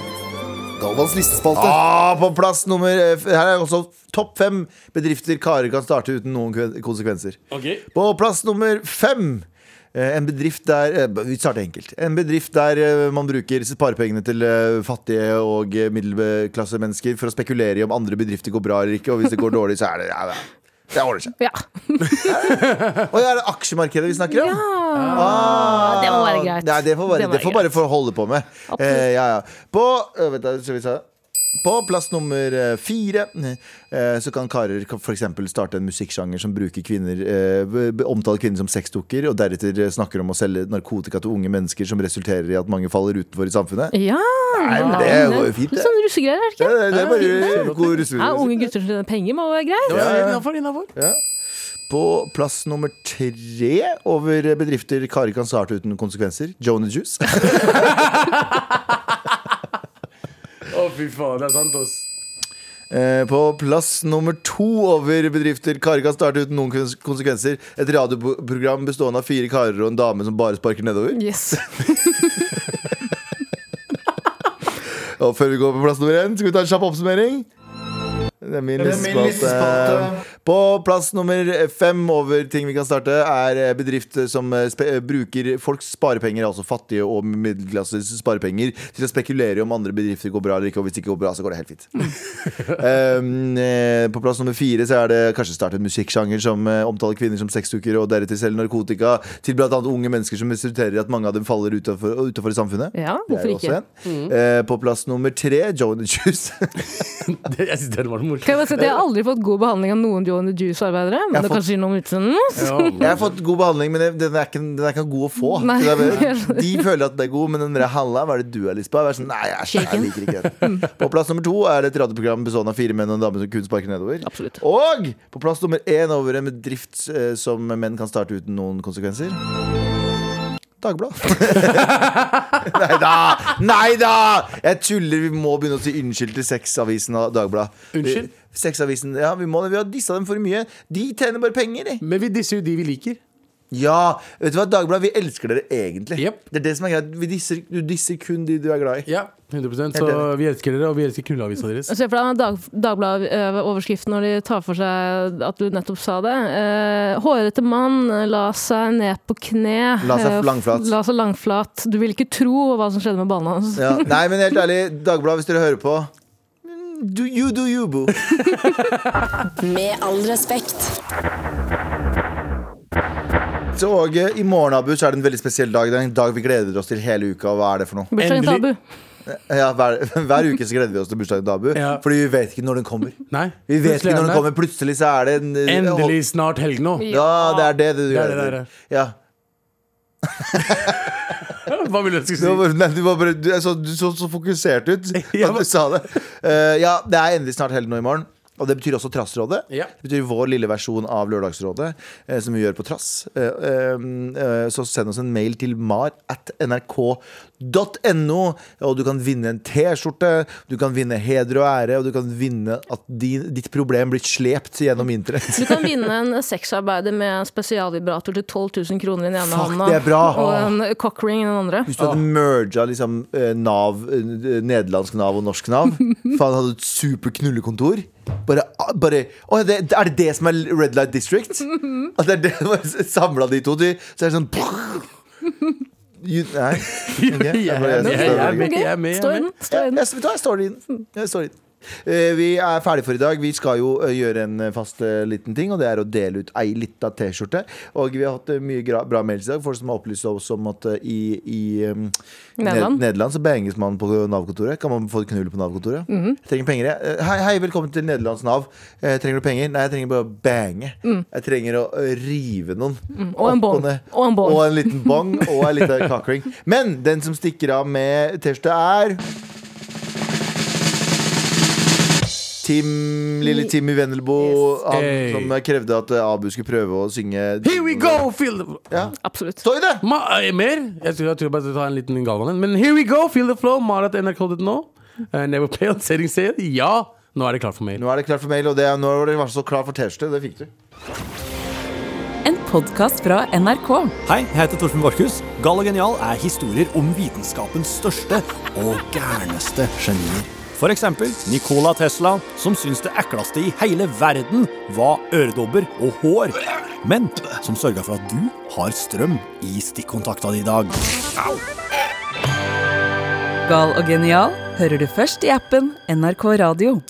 [SPEAKER 5] Galvans listespalte.
[SPEAKER 2] Ah, på plass nummer eh, f- Her er også topp fem bedrifter karer kan starte uten noen kve- konsekvenser.
[SPEAKER 3] Ok.
[SPEAKER 2] På plass nummer fem eh, en bedrift der eh, Vi starter enkelt. En bedrift der eh, man bruker sparepengene til eh, fattige og eh, middelklassemennesker for å spekulere i om andre bedrifter går bra eller ikke, og hvis det går dårlig, så er det ja, ja. Det ordner seg.
[SPEAKER 4] Ja.
[SPEAKER 2] Og det er det aksjemarkedet vi snakker om? Ah,
[SPEAKER 4] det må være greit.
[SPEAKER 2] Nei, det får, bare,
[SPEAKER 4] Det
[SPEAKER 2] det
[SPEAKER 4] må være
[SPEAKER 2] får bare få holde på med.
[SPEAKER 4] Absolutt.
[SPEAKER 2] Eh, ja, ja. På, øh, vent da, skal vi se. På plass nummer eh, fire eh, så kan karer f.eks. starte en musikksjanger som bruker kvinner eh, be- be- omtaler kvinner som sexdukker, og deretter eh, snakker om å selge narkotika til unge mennesker, som resulterer i at mange faller utenfor i samfunnet.
[SPEAKER 4] ja.
[SPEAKER 2] Nei, men det går jo fint,
[SPEAKER 4] Litt
[SPEAKER 2] det.
[SPEAKER 4] sånn russegreier, er det
[SPEAKER 2] Ja,
[SPEAKER 4] ikke?
[SPEAKER 2] det, det er bare
[SPEAKER 3] Fint, det.
[SPEAKER 2] god russere.
[SPEAKER 4] Ja, unge gutter som tjener penger, må være greit.
[SPEAKER 3] Ja, Innafor, innafor.
[SPEAKER 2] På plass nummer tre over bedrifter Kari kan starte uten konsekvenser. Jonah Juice.
[SPEAKER 3] Å, fy faen, det er sant, ass.
[SPEAKER 2] Eh, På plass nummer to over bedrifter Kari kan starte uten noen kons- konsekvenser. Et radioprogram bestående av fire karer og en dame som bare sparker nedover.
[SPEAKER 4] Yes.
[SPEAKER 2] Og før vi går på plass nummer én, skal vi ta en kjapp oppsummering? Det er min
[SPEAKER 3] Det er min
[SPEAKER 2] listespalte. På plass nummer fem over ting vi kan starte, er bedrifter som eh, spe eh, bruker folks sparepenger, altså fattige og middelklasses sparepenger, til å spekulere i om andre bedrifter går bra eller ikke, og hvis det ikke går bra, så går det helt fint.
[SPEAKER 3] Mm.
[SPEAKER 2] Um, eh, på plass nummer fire så er det kanskje starte en musikksjanger som eh, omtaler kvinner som sexdukker og deretter selge narkotika til bl.a. unge mennesker som resulterer i at mange av dem faller utenfor, utenfor i samfunnet. Det
[SPEAKER 4] Ja,
[SPEAKER 2] er
[SPEAKER 4] hvorfor
[SPEAKER 2] jo også
[SPEAKER 4] ikke? Mm.
[SPEAKER 2] en. Eh, på plass nummer tre, Joe and the Juice.
[SPEAKER 3] Det, jeg synes den var den
[SPEAKER 4] Kan jeg
[SPEAKER 3] morsomste.
[SPEAKER 4] bare si at jeg har aldri fått god behandling av noen Joe and the Juice-arbeidere, men
[SPEAKER 2] Jeg har
[SPEAKER 4] det
[SPEAKER 2] fått-
[SPEAKER 4] kan si noe om utseendet.
[SPEAKER 2] Jeg har fått god behandling, men den er ikke, den er ikke god å få.
[SPEAKER 4] Nei.
[SPEAKER 2] Det er bare- de føler at den er god, men den der Halla, hva er det du har lyst på? Jeg er sånn, nei, jeg, jeg liker ikke den.
[SPEAKER 4] Mm.
[SPEAKER 2] På plass nummer to er det et radioprogram bestående av fire menn og en dame som kun sparker nedover.
[SPEAKER 4] Absolutt.
[SPEAKER 2] Og på plass nummer én over en bedrift eh, som menn kan starte uten noen konsekvenser. Dagbladet. nei da! Nei da! Jeg tuller. Vi må begynne å si unnskyld til Sexavisen og Dagbladet.
[SPEAKER 3] Unnskyld?
[SPEAKER 2] Sexavisen, ja, vi må det. Vi har dissa dem for mye. De tjener bare penger, de.
[SPEAKER 3] Men vi disser jo de vi liker.
[SPEAKER 2] Ja, vet du hva, Dagbladet, vi elsker dere egentlig.
[SPEAKER 3] Jep.
[SPEAKER 2] Det er det som er greit. Vi disser, du disser kun de du er glad i.
[SPEAKER 3] Ja, 100 Så
[SPEAKER 2] Helt enig.
[SPEAKER 3] vi elsker dere, og vi elsker knulleavisa deres.
[SPEAKER 4] Se for deg dag, Dagbladet-overskriften når de tar for seg at du nettopp sa det. Eh, hårete mann eh, la seg ned på kne.
[SPEAKER 2] La seg
[SPEAKER 4] Eh, f-
[SPEAKER 2] langflat.
[SPEAKER 4] La seg langflat. Du vil ikke tro hva som skjedde med ballen hans.
[SPEAKER 2] Ja. Nei, men helt ærlig, Dagbladet, hvis dere hører på mm, do You do you, boo.
[SPEAKER 7] Med all respekt.
[SPEAKER 2] Så og, eh, I morgen Abu, så er det en veldig spesiell dag. Det er en dag vi gleder oss til hele uka. og Hva er det for noe?
[SPEAKER 4] Bursdagen til Abu.
[SPEAKER 3] Endelig.
[SPEAKER 2] Ja, hver, hver uke så gleder vi oss til bursdagen til Abu,
[SPEAKER 3] Ja.
[SPEAKER 2] fordi vi vet ikke når den kommer.
[SPEAKER 3] Nei.
[SPEAKER 2] Vi vet ikke når den
[SPEAKER 3] Plutselig er
[SPEAKER 2] kommer Plutselig så er det en, eh,
[SPEAKER 3] der. Endelig snart helg nå.
[SPEAKER 2] Ja, det er det du
[SPEAKER 3] er
[SPEAKER 2] gjør.
[SPEAKER 3] det det er.
[SPEAKER 2] Ja.
[SPEAKER 3] Hva vil du jeg
[SPEAKER 2] Du
[SPEAKER 3] skulle si?
[SPEAKER 2] var, nei, du var bare, du, jeg så, du så så fokusert ut da
[SPEAKER 3] Ja,
[SPEAKER 2] du
[SPEAKER 3] men-
[SPEAKER 2] sa det. Eh, ja, det er endelig snart helg nå i morgen. Og det betyr også Trassrådet.
[SPEAKER 3] Ja.
[SPEAKER 2] Det betyr vår lille versjon av Lørdagsrådet, eh, som vi gjør på Trass. Eh, eh, eh, så send oss en mail til mar at nrk.no, og du kan vinne en T-skjorte, du kan vinne heder og ære, og du kan vinne at din, ditt problem blir slept gjennom internett.
[SPEAKER 4] Du kan vinne en sexarbeider med spesialvibrator til 12 000 kroner i den ene
[SPEAKER 2] Fuck,
[SPEAKER 4] hånda.
[SPEAKER 2] det er bra.
[SPEAKER 4] Og en cockring i den andre.
[SPEAKER 2] Hvis du hadde merga liksom, eh, Nav, eh, nederlandsk Nav og norsk Nav Faen, hadde et super knullekontor. Bare, ah, bare Å, det, Er det det som er Red Light District? At det er det som er samla de to til? Så er det sånn you, Nei. ok, jeg bare-
[SPEAKER 3] Jeg- jeg- jeg-
[SPEAKER 2] jeg-
[SPEAKER 3] jeg- jeg er med, jeg er
[SPEAKER 4] Stå i
[SPEAKER 3] med.
[SPEAKER 4] den. Stå Mm. i den.
[SPEAKER 2] Jeg, jeg står i den. Jeg står i den. Eh, Vi er ferdige for i dag. Vi skal jo eh, gjøre en eh, fast eh, liten ting, og det er å dele ut ei lita T-skjorte. Og vi har hatt eh, mye gra- bra mails i dag. Folk som har opplyst oss om at eh, i, i em,
[SPEAKER 4] Nederland.
[SPEAKER 2] Ned- Nederland så banges man på Nav-kontoret. Kan man få et knull på Nav-kontoret?
[SPEAKER 4] Mhm.
[SPEAKER 2] Jeg Trenger penger, jeg. Eh, Hei, hei, velkommen til Nederlands Nav. Eh, Trenger du penger? Nei, jeg trenger bare å bange.
[SPEAKER 4] Mm.
[SPEAKER 2] Jeg trenger å eh, rive noen.
[SPEAKER 4] og en
[SPEAKER 2] Opp
[SPEAKER 4] bong.
[SPEAKER 2] ned.
[SPEAKER 4] Og en bong.
[SPEAKER 2] Og en liten bong og en liten kakring. Men den som stikker av med T-skjorte, er Tim, Lille Tim i Vendelbo. Han
[SPEAKER 3] Hey.
[SPEAKER 2] som krevde at eh, Abu skulle prøve å synge
[SPEAKER 3] Here we go, feel the
[SPEAKER 2] Ja.
[SPEAKER 4] Absolutt.
[SPEAKER 2] Står i det!
[SPEAKER 3] Ma eh, Mer? Jeg tror, jeg tror bare jeg tar en liten Galvan en. Men here we go, feel the flow. Marat nrk.no. Eh, Never fail, setting said. Ja! Nå er det klart for mer.
[SPEAKER 2] Nå er det klart for mail, og det, er- nå var det så klar for T-skjorte. Det fikk du.
[SPEAKER 1] En podkast fra NRK.
[SPEAKER 6] Hei, jeg heter Torfinn Borchhus. Gal og genial er historier om vitenskapens største og gærneste genier. For eksempel Nikola Tesla, som syns det ekleste i hele verden var øredobber og hår, men som sørga for at du har strøm i stikkontakta di i dag.
[SPEAKER 1] Gal og genial hører du først i appen NRK Radio.